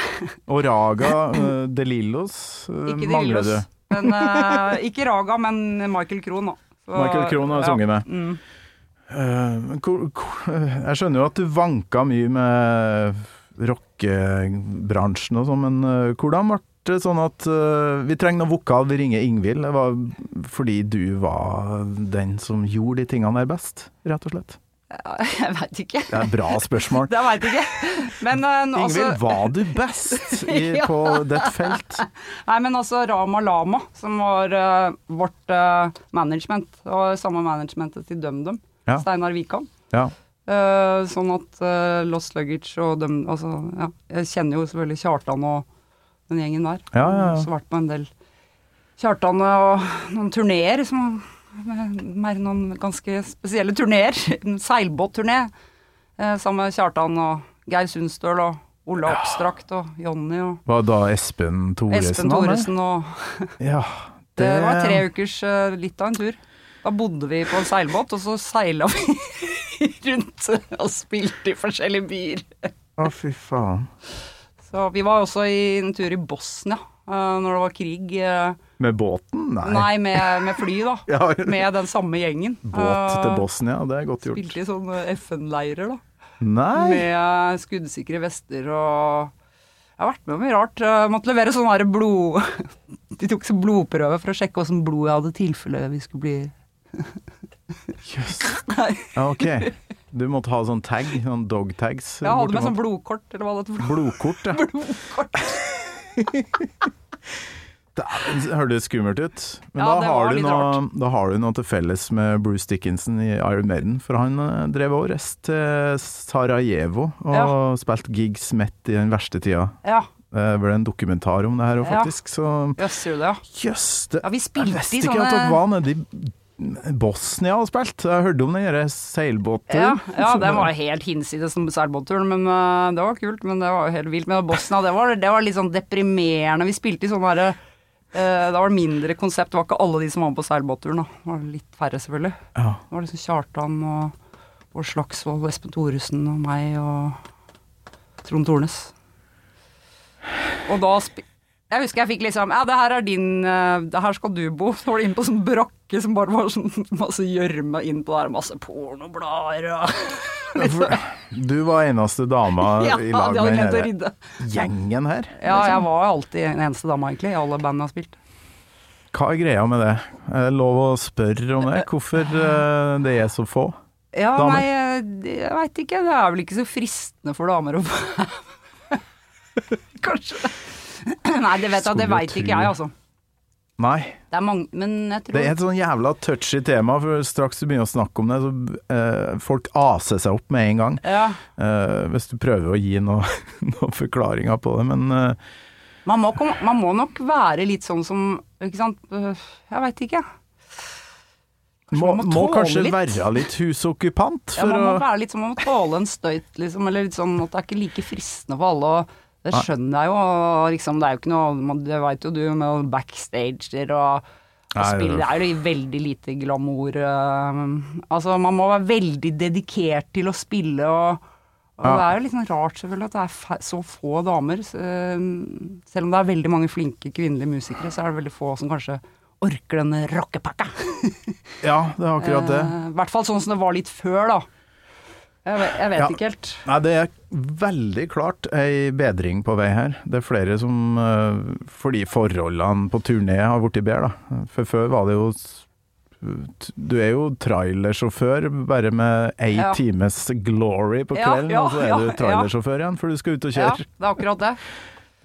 Og Raga eh, De Lillos eh,
Ikke de
mangler
Lillos.
du.
Men, eh, ikke Raga, men Michael Krohn, da. Så-
Michael Krohn har
ja.
sunget med.
Mm.
Eh, men hvor- hvor- Jeg skjønner jo at du vanka mye med rockebransjen og sånn, men eh, hvordan ble det sånn at eh, Vi trenger noe vokal, vi ringer Ingvild. Det var fordi du var den som gjorde de tingene der best, rett og slett.
Jeg veit ikke.
Det er et bra spørsmål.
Det veit jeg ikke. Men, eh, nå-
Ingvild,
altså,
var du best i,
Ja.
på ditt felt?
nei, men altså Rama Lama, som var eh, vårt eh, management, og samme managementet til DumDum,
Ja.
Steinar Wikan.
Ja.
Eh, sånn at eh, Lost Luggage og dem altså, ja, Jeg kjenner jo selvfølgelig Kjartan og den gjengen der.
Ja, ja, ja.
Så vært på en del Kjartan og noen turneer som med- Mer noen ganske spesielle turneer. En seilbåtturné eh, sammen med Kjartan og Geir Sundstøl og Ola Oppstrakt og Jonny og
Var da Espen Thoresen?
Espen
var med?
Thoresen og
Ja,
Det var tre ukers eh, litt av en tur. Da bodde vi på en seilbåt, og så seila vi rundt og spilte i forskjellige byer.
Å, fy faen.
Så vi var også i en tur i Bosnia eh, når det var krig. eh,
Med båten? Nei.
nei, med, med fly, da.
Ja.
Med den samme gjengen.
Båt til
Eh,
Bosnia, det er godt gjort.
Spilte i sånne FN-leirer, da.
Nei!
Med eh, skuddsikre vester og Jeg har vært med om mye rart. Jeg måtte levere sånn her blod... De tok sånn blodprøve for å sjekke åssen blod jeg hadde i tilfelle vi skulle bli
Jøss. Ja, ok. Du måtte ha sånn tag, sånn dog tags.
Jeg hadde
bortimot.
med sånn blodkort, eller hva det heter.
Blodkort, ja.
Blodkort.
Dæven, Hørtes skummelt ut. Men
Ja, det
da, har
var
du
litt
noe, da har du noe til felles med Bruce Dickinson i Iron Maiden, for han eh, drev også reist til Sarajevo og
Ja.
spilte gigs midt i den verste tida. Eh,
Ja,
Det ble en dokumentar om det her òg,
Ja.
faktisk. Så
jøss, gjorde det, ja.
Jøss, det
Ja, vi spilte
Jeg visste
i
ikke
sånne-
at dere var nede i Bosnia og spilte. Jeg hørte om den der
Ja,
seilbåtturen.
ja
Så-
det var helt hinsides som seilbåtturen, men eh, det var kult. Men det var jo helt vilt. Men Bosnia, det var, det var litt sånn deprimerende. Vi spilte i sånn herre Da var det mindre konsept. Det var ikke alle de som var med på seilbåtturen, da. Det var litt færre, selvfølgelig.
Ja.
Det var liksom Kjartan og Bård Slagsvold, og Espen Thoresen og meg og Trond Tornes. Og da spi Jeg husker jeg fikk liksom Ja, det her er din eh, Det her skal du bo. Så var det inn på sånn brakke som bare var sånn masse gjørme innpå der, masse pornoblader og
For Du var eneste dama
Ja, de
i lag
hadde
med
glemt å
den
rydde. Liksom.
der gjengen her.
Ja, jeg var alltid den eneste dama, egentlig, i alle bandene jeg har spilt.
Hva er greia med det? Er det lov å spørre om det? Hvorfor eh, det er så få?
Ja,
Damer.
nei, eh, jeg veit ikke. Det er vel ikke så fristende for damer å Kanskje. Nei, det vet jeg, det
Skulle
veit
tro.
ikke jeg, altså.
Nei.
Det er mange, men jeg tror
Det er et sånn jævla touchy tema, for straks du begynner å snakke om det, så eh, folk aser seg opp med en gang.
ja.
Eh, hvis du prøver å gi noen noe forklaringer på det, men eh,
man, må, kom- man må nok være litt sånn som Ikke sant? Øh, Jeg veit ikke.
Må,
man må
må
tåle
kanskje
litt.
være litt husokkupant
Ja,
for
man må
å
være litt sånn, man må tåle en støyt, liksom, eller litt sånn at det er ikke like fristende for alle. Og det
Nei.
skjønner jeg jo, og liksom, det er jo ikke noe man- Det veit jo du, med backstager og, og
Nei,
spill, det er jo veldig lite glamour eh, Altså, man må være veldig dedikert til å spille og og
Ja.
Det er jo litt sånn rart selvfølgelig at det er fe- så få damer. s- eh, Selv om det er veldig mange flinke kvinnelige musikere, så er det veldig få som kanskje orker denne rockepakka.
Ja, det er akkurat det.
Eh, I hvert fall sånn som det var litt før, da. Jeg vet, jeg vet
Ja.
ikke helt.
Nei, det er veldig klart ei bedring på vei her. Det er flere som eh, Fordi forholdene på turné har blitt bedre, da. For før var det jo s- Du er jo trailersjåfør, bare med ei
Ja.
times glory på
Ja,
kvelden,
ja,
og så er
ja,
du trailersjåfør igjen, for du skal ut og
Ja,
kjøre.
det er akkurat det.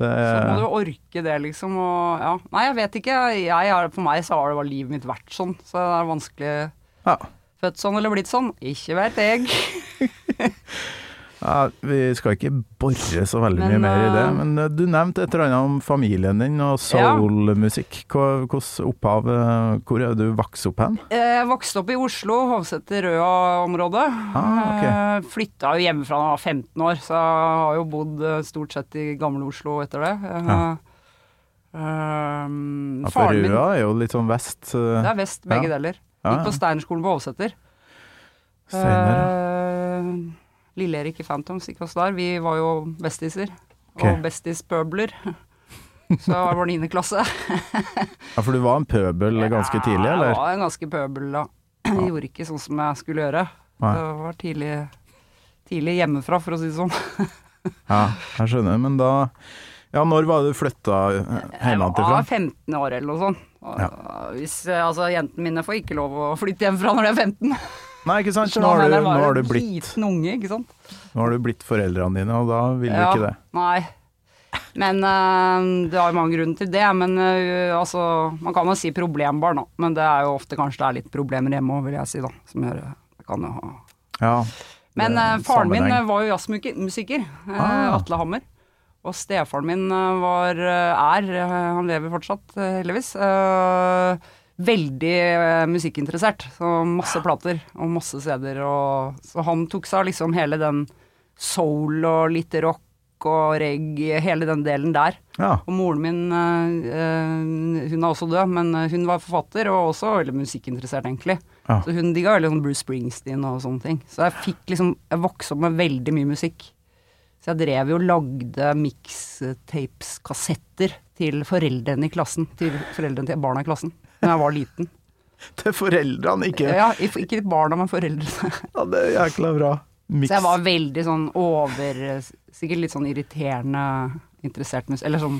Det
Så må
er,
du orke det, liksom. Og, ja. Nei, jeg vet ikke. Jeg, har- for meg så har det bare livet mitt vært sånn. Så det er vanskelig
ja.
Født sånn eller blitt sånn? Ikke vet jeg.
Ja, vi skal ikke bore så veldig
Men,
mye mer i det,
eh,
men eh, du nevnte et eller annet om familien din og soulmusikk. Hva- Hvordan opphav eh, Hvor er du vokst opp hen?
Eh, Jeg vokste opp i Oslo, Hovseter-Røa-området.
Ah,
Eh, Flytta jo hjemmefra da jeg var 15 år, så jeg har jo bodd eh, stort sett i gamle Oslo etter det. Eh,
Ja.
ehm,
Ja, for
faren min
Røa er jo litt sånn vest. eh,
Det er vest, begge
Ja.
deler.
Ja,
Gikk
ja.
på Steinerskolen på Hovseter.
Steinar,
Eh, Lille-Erik i Phantoms gikk oss der. Vi var jo bestiser.
Ok.
Og bestis-pøbler. Så jeg var niende klasse.
ja, for du var en pøbel ganske tidlig,
Jeg
eller?
var en ganske pøbel da. Jeg gjorde ikke sånn som jeg skulle gjøre.
Nei.
Det var tidlig, tidlig hjemmefra, for å si det sånn.
Ja, jeg skjønner, men da Ja, når var det du eh, flytta
Jeg var
hjemmefra?
15 år eller noe sånt. Og, Hvis, eh, altså, jentene mine får ikke lov å flytte hjemmefra når de er 15.
Nei, ikke sant,
Så
nå har
mener
du,
jeg
nå
var
har du
en
blitt,
Liten unge, ikke sant.
nå har du blitt foreldrene dine, og da vil du ikke det.
Nei. Men eh, det har jo mange grunner til det. Men eh, altså, man kan jo si problembarn, da. Men det er jo ofte kanskje det er litt problemer hjemme òg, vil jeg si, da. Som gjør det kan jo ha
Ja.
Men
Det er
eh, faren min
sammenheng.
eh, var jo jazzmusiker. eh,
Ah.
Atle Hammer. Og stefaren min eh, var eh, er eh, Han lever fortsatt, eh, heldigvis. eh, veldig eh, musikkinteressert. Så masse plater og masse CD-er og Så han tok seg av liksom hele den soul og litt rock og reggae, hele den delen der.
ja.
Og moren min, eh, eh, hun er også død, men eh, hun var forfatter og også veldig musikkinteressert, egentlig.
Ja.
Så hun digga veldig sånn Bruce Springsteen og sånne ting. Så jeg fikk liksom Jeg vokste opp med veldig mye musikk. Så jeg drev jo og lagde mixtapes-kassetter til foreldrene i klassen. Til foreldrene til barna i klassen. Da jeg var liten.
Til foreldrene, ikke
Ja, ikke ikke barna, men foreldrene.
Ja, det er jækla bra. Miks.
Så jeg var veldig sånn over Sikkert litt sånn irriterende interessert musikk. Eller sånn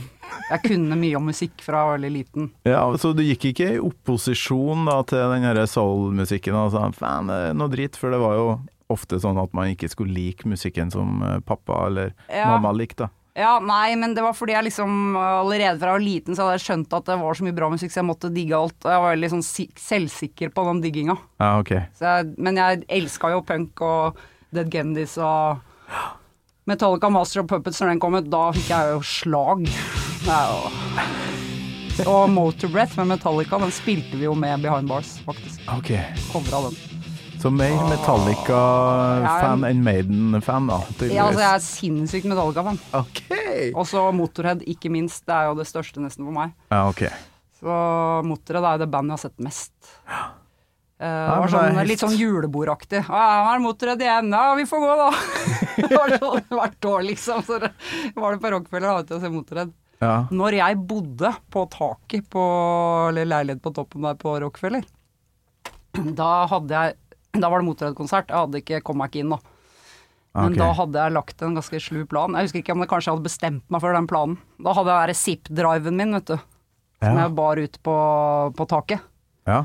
Jeg kunne mye om musikk fra jeg var veldig liten.
Ja, så du gikk ikke i opposisjon da, til den her soul-musikken og sa faen, det er noe dritt, for det var jo ofte sånn at man ikke skulle like musikken som eh, pappa eller
Ja.
mamma likte. da.
Ja, nei, men det var fordi jeg liksom allerede fra jeg var liten, så hadde jeg skjønt at det var så mye bra musikk, så jeg måtte digge alt. Og jeg var veldig sånn si selvsikker på den digginga.
Ja, ok.
Så jeg, men jeg elska jo punk og Dead Gendis og Metallica Master of Puppets når den kom ut. Da fikk jeg jo slag. Det er jo Og Motor Breath med Metallica, den spilte vi jo med Behind Bars, faktisk.
Ok.
Covra den.
Så mer Metallica-fan enn Maiden-fan, da.
Ja, altså, jeg er sinnssykt Metallica-fan.
tydeligvis. Ok!
Og så Motorhead, ikke minst. Det er jo det største nesten for meg.
Ja, ok.
Så Motorhead er jo det bandet jeg har sett mest. Eh, det
men
var
det er
sånn,
helt-
Litt sånn julebordaktig. Ja, her er Motorhead igjen. Ja, vi får gå, da. det var sånn hvert år, liksom. Så det- var det på Rockefeller da, til å se Motorhead.
Ja.
Når jeg bodde på taket på eller leilighet på toppen der på Rockefeller, da hadde jeg da var det Motorhead-konsert. Jeg hadde ikke kom meg ikke inn, da. Men
Ok.
da hadde jeg lagt en ganske slu plan. Jeg husker ikke om det kanskje jeg hadde bestemt meg for den planen. Da hadde jeg den zip-driven min, vet du. Som
Ja.
jeg bar ut på, på taket.
Ja.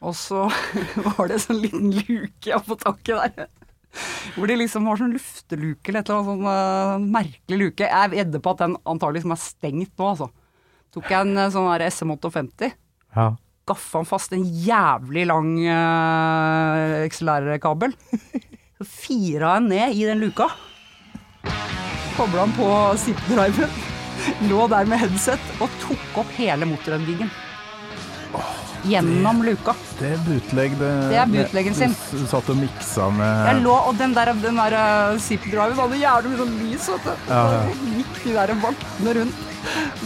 Og så var det sånn liten luke oppå taket der. Hvor de liksom har sånn lufteluke eller et eller annet sånn eh, merkelig luke. Jeg er edde på at den antagelig som er stengt nå, altså. Tok jeg en eh, sånn der SM 850,
Ja.
gaffa han fast en jævlig lang uh, XLR-kabel. Så fira han ned i den luka. Kobla han på zip-driven. Lå der med headset og tok opp hele motorendingen. gjennom luka.
Det er bootleg. Det,
Det er bootleggen sin.
Du s- satt og miksa
Jeg
med
lå, og den der, den der eh, zip-driven hadde jævlig mye sånn lys, vet du.
Ja, ja.
Og så gikk de der vaktene rundt.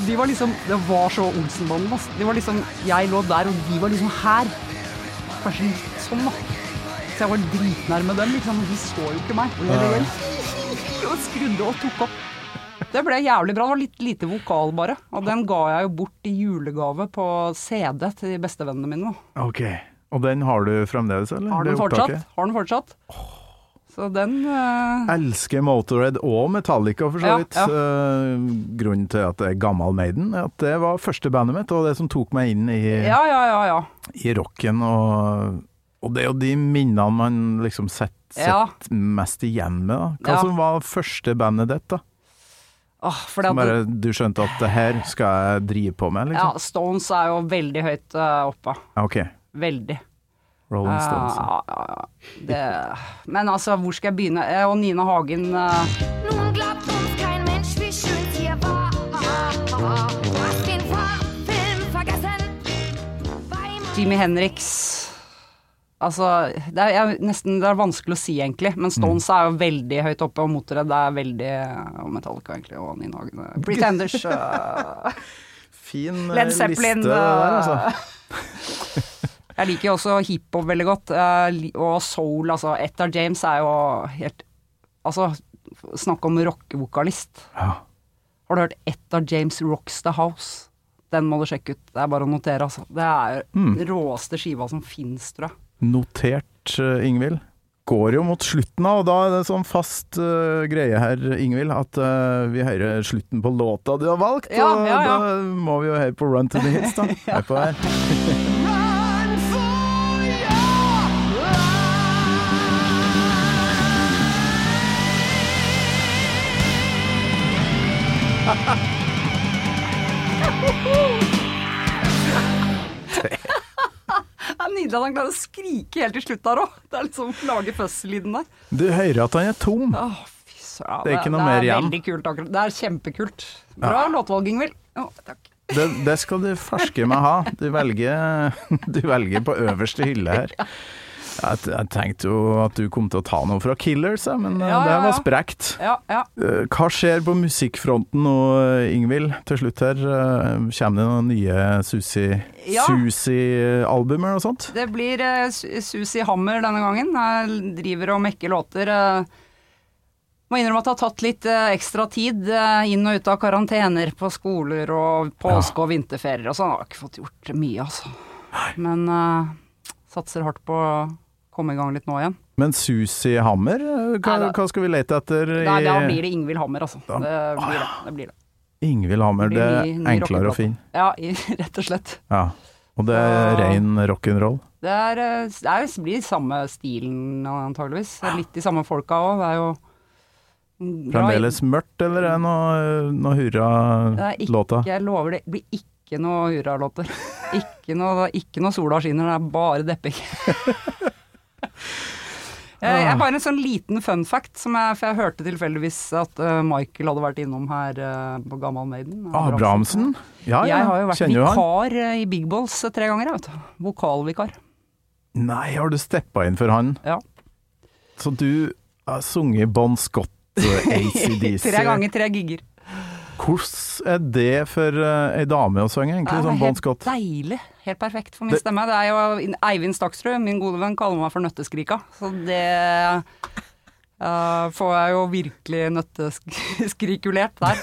De var liksom Det var så Olsenbanden, ass. De var liksom Jeg lå der, og de var liksom her. Kanskje litt sånn, da. Så jeg var dritnærme dem, liksom. og De så jo ikke meg. Og jeg lå der og skrudde og tok opp. Det ble jævlig bra. Det var litt lite vokal, bare. Og den ga jeg jo bort i julegave på CD til de bestevennene mine. nå.
Ok. Og den har du fremdeles, eller?
Har den
Det opptaket?
fortsatt? Har den fortsatt? Så den eh,
elsker Motorhead og Metallica, for så
Ja,
vidt.
ja.
Eh, grunnen til at det er gammel Maiden, er at det var første bandet mitt, og det som tok meg inn i,
Ja, ja, ja. ja.
i rocken. Og, og det er jo de minnene man liksom setter
Ja.
sett mest igjen med. Da. Hva
Ja.
som var første bandet ditt, da?
Åh, for det
Som
at,
bare du skjønte at det her skal jeg drive på med,
ja,
liksom?
Stones er jo veldig høyt eh, oppe.
OK.
Veldig.
Rolling Stones.
Ja, ja, ja. det, men altså, hvor skal jeg begynne? Eh, Og Nina Hagen eh,
Nun glaubt uns kein Mensch, wie schön hier war. Du hast den Farbfilm vergessen. Weimar-
Jimmy Henriks Altså, det er, jeg, nesten, det er vanskelig å si, egentlig.
Mm.
Men Stones er jo veldig høyt oppe, og Motorhead er veldig eh, Og Metallica, egentlig, og Nina Hagen. eh, Pretenders. eh,
Fin eh,
Led
liste,
Zeppelin, eh,
det der, altså.
Jeg liker jo også hiphop veldig godt, eh, li- og soul, altså. Etta James er jo helt Altså, snakk om rockevokalist.
Ja.
Har du hørt Etta James Rocks The House? Den må du sjekke ut. Det er bare å notere, altså. Det er
Hmm.
den råeste skiva som fins, tror jeg.
Notert, eh, Ingvild. Går jo mot slutten av, og da er det sånn fast eh, greie her, Ingvild, at eh, vi hører slutten på låta du har valgt.
Ja,
og
ja, ja.
da må vi jo høre på Run to the Hits, da. Hør på her.
Run for your
Det er nydelig at han klarer å skrike helt til slutt der òg. Det er liksom lage fuzz-lyden der.
Du hører at han er tom.
Åh, fy søren.
Det er ikke noe mer
Det er
igjen.
veldig kult, akkurat. Det er kjempekult. Bra låtvalg, Ingvild. Å, takk.
Det, det skal du ferske meg ha. Du velger, du velger på øverste hylle her. Jeg, jeg tenkte jo at du kom til å ta noe fra Killers, jeg, men eh,
Ja,
det
ja,
var
ja.
sprekt.
Ja, ja.
Eh, Hva skjer på musikkfronten nå, eh, Ingvild? Til slutt her, eh, kommer det noen nye Susi-
Ja.
Susi-albumer og sånt?
Det blir eh, Su- Susi Hammer denne gangen. Jeg driver og mekker låter. eh. må innrømme at det har tatt litt eh, ekstra tid eh, inn og ut av karantener på skoler og påske- og vinterferier og sånn. Jeg har ikke fått gjort mye, altså. Men eh, satser hardt på å komme i gang litt nå igjen.
Men Susi Hammer, eh,
Nei,
hva,
da-
hva skal vi lete etter
Nei, da
i
blir det Ingvild Hammer, altså. Det blir det. det, blir det.
Ingvild Hammer?
det
Det
blir
er
ny- ny
enklere å
rockeplate.
finne.
Ja, i- rett og slett.
Ja. Og det er rein rock'n'roll.
Det, er, eh, det er, det blir samme stilen antageligvis. Litt de samme folka òg. Det er jo bra-
Fremdeles mørkt, eller er det noe, noe
Det er ikke,
hurra-låta?
Jeg lover det. Det blir ikke noe hurralåter. Ikke noe, ikke noe sola skinner, det er bare depping. Eh,
Ah.
Jeg har en sånn liten fun fact, som jeg, for jeg hørte tilfeldigvis at eh, Michael hadde vært innom her eh, på Gammal Maiden.
Abrahamsen? Ah, Ja, ja.
Jeg har jo vært
Kjenner du han?
vikar eh, i Big Balls eh, tre ganger, jeg vet du. Vokalvikar.
Nei, har du steppa inn for han?
Ja.
Så du har sunget Bon Scott, eh, ACDC
Tre ganger tre gigger.
Hvordan er det for eh, ei dame å synge, egentlig?
Ja,
Sånn
det er
Bon Scott.
Helt deilig. Helt perfekt for min
Det-
stemme. Det er jo Eivind Staksrud, min gode venn, kaller meg for Nøtteskrika. Så det eh, får jeg jo virkelig nøtteskrikulert der.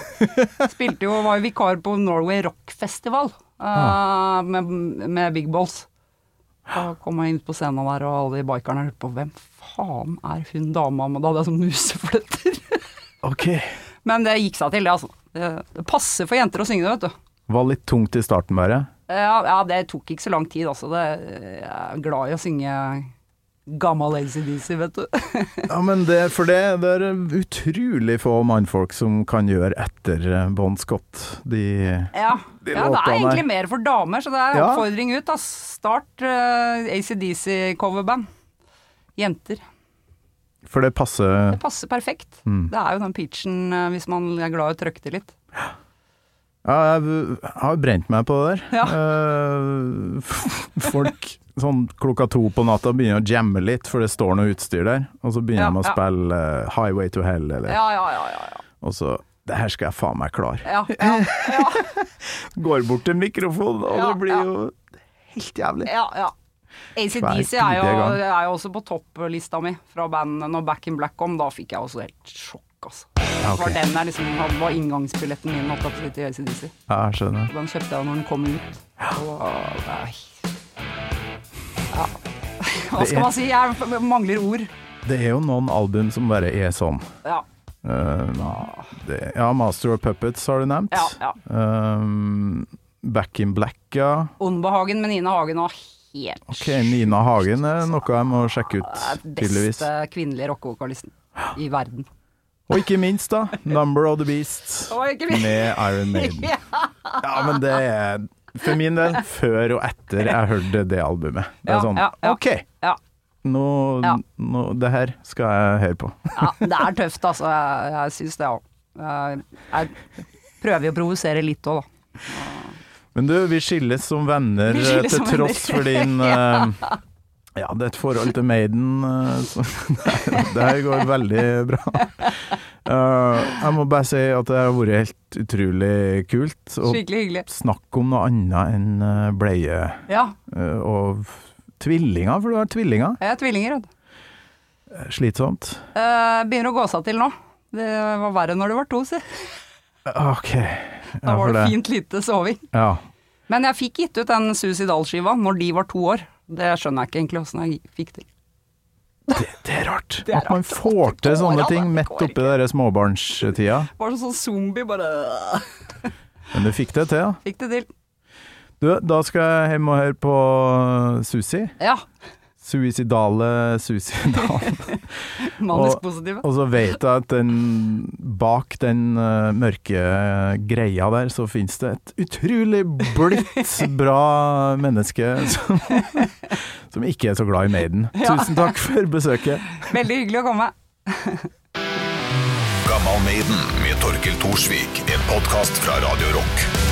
Spilte jo, var jo vikar på Norway Rock Festival eh, med, med Big Balls. Da kom jeg inn på scenen der, og alle de bikerne lurte på hvem faen er hun dama med Da hadde jeg sånn musefletter.
Ok.
Men det gikk seg til, det, altså. Det, det passer for jenter å synge det, vet du.
Var litt tungt i starten, bare.
Ja, ja, det tok ikke så lang tid, altså. Det, jeg er glad i å synge gammal ACDC, vet du.
Ja, men det, for det, det er utrolig få mannfolk som kan gjøre etter eh, Bon Scott. De
ja.
De
ja, det
låtene
er
der.
egentlig mer for damer, så det er
Ja.
oppfordring ut. Ass. Start uh, ACDC-coverband. Jenter.
For det passer Mm.
Det passer perfekt. Det er jo den pitchen eh, hvis man er glad i å trøkke det litt.
Ja, jeg har brent meg på det der.
Ja.
Eh, folk sånn klokka to på natta begynner å jamme litt, for det står noe utstyr der. Og så begynner
Ja,
de å
ja.
spille eh, Highway to Hell, eller
Ja, ja, ja. ja, ja.
Og så Det her skal jeg faen meg klare.
Ja, ja, ja,
Går bort til mikrofonen, og
Ja,
det blir
ja.
jo helt jævlig.
ja, ja. ACDC er, jo-
bidige gang.
er jo også på topplista mi fra bandene når Back in Black kom. Da fikk jeg også helt sjokk, altså.
Ja, ok.
Det var den jeg liksom hadde, var inngangsbilletten min holdt jeg på å si, til ACDC.
Ja, jeg skjønner.
Og Den kjøpte jeg når den kom ut. Og, nei. Ja. Hva
er-
skal man si? Jeg mangler ord.
Det er jo noen album som bare er sånn.
Ja.
Eh, det, ja, Master of Puppets har du nevnt.
Ja, ja.
Eh, Back in Black, ja.
Åndbehagen med Nina Hagen var helt
Ok, Nina Hagen er noe jeg må sjekke ut,
Den
tydeligvis.
beste kvinnelige rockevokalisten i verden.
Og ikke minst, da, 'Number of the Beast'
Og ikke minst-
med Iron Maiden.
Ja.
Ja, men det er for min del før og etter jeg hørte det albumet. Det er
Ja,
sånn
ja, ja.
OK,
Ja.
nå,
Ja.
nå Det her skal jeg høre på.
ja, det er tøft, altså. Jeg, jeg syns det òg. Jeg, jeg prøver jo å provosere litt òg, da.
Men du, vi skilles som venner
Vi skilles
eh, til
som venner.
tross for din eh, Ja, det er et forhold til Maiden eh, så, Det her går veldig bra. Eh, jeg må bare si at det har vært helt utrolig kult. Og
Skikkelig hyggelig.
snakk om noe annet enn eh, bleie
Ja,
eh, og f- tvillinger, for du har tvillinger.
jeg er tvillinger. vet du.
Slitsomt.
Eh, begynner å gå seg til nå. Det var verre når det var to, si.
OK.
Da
Ja,
var
for
det
det.
fint lite soving.
Ja.
Men jeg fikk gitt ut den Suicidal-skiva når de var to år. Det skjønner jeg ikke egentlig åssen jeg fikk til.
Det, det er rart
Det er
at man
rart.
får
Det
til
går
sånne
an,
ting
det
midt
går
oppi den småbarnstida.
Var sånn zombie, bare
Men du fikk det til, ja.
Fikk det til.
Du, da skal jeg hjem og høre på Susi.
Ja.
Suicidale Suicidale.
Manisk
Og-
positive.
Og så vet jeg at den, bak den eh, mørke greia der, så finnes det et utrolig blidt bra menneske som, som ikke er så glad i Maiden. Tusen takk for besøket.
Veldig hyggelig å komme.
Gammal Maiden med Torkel Thorsvik. En podkast fra Radio Rock.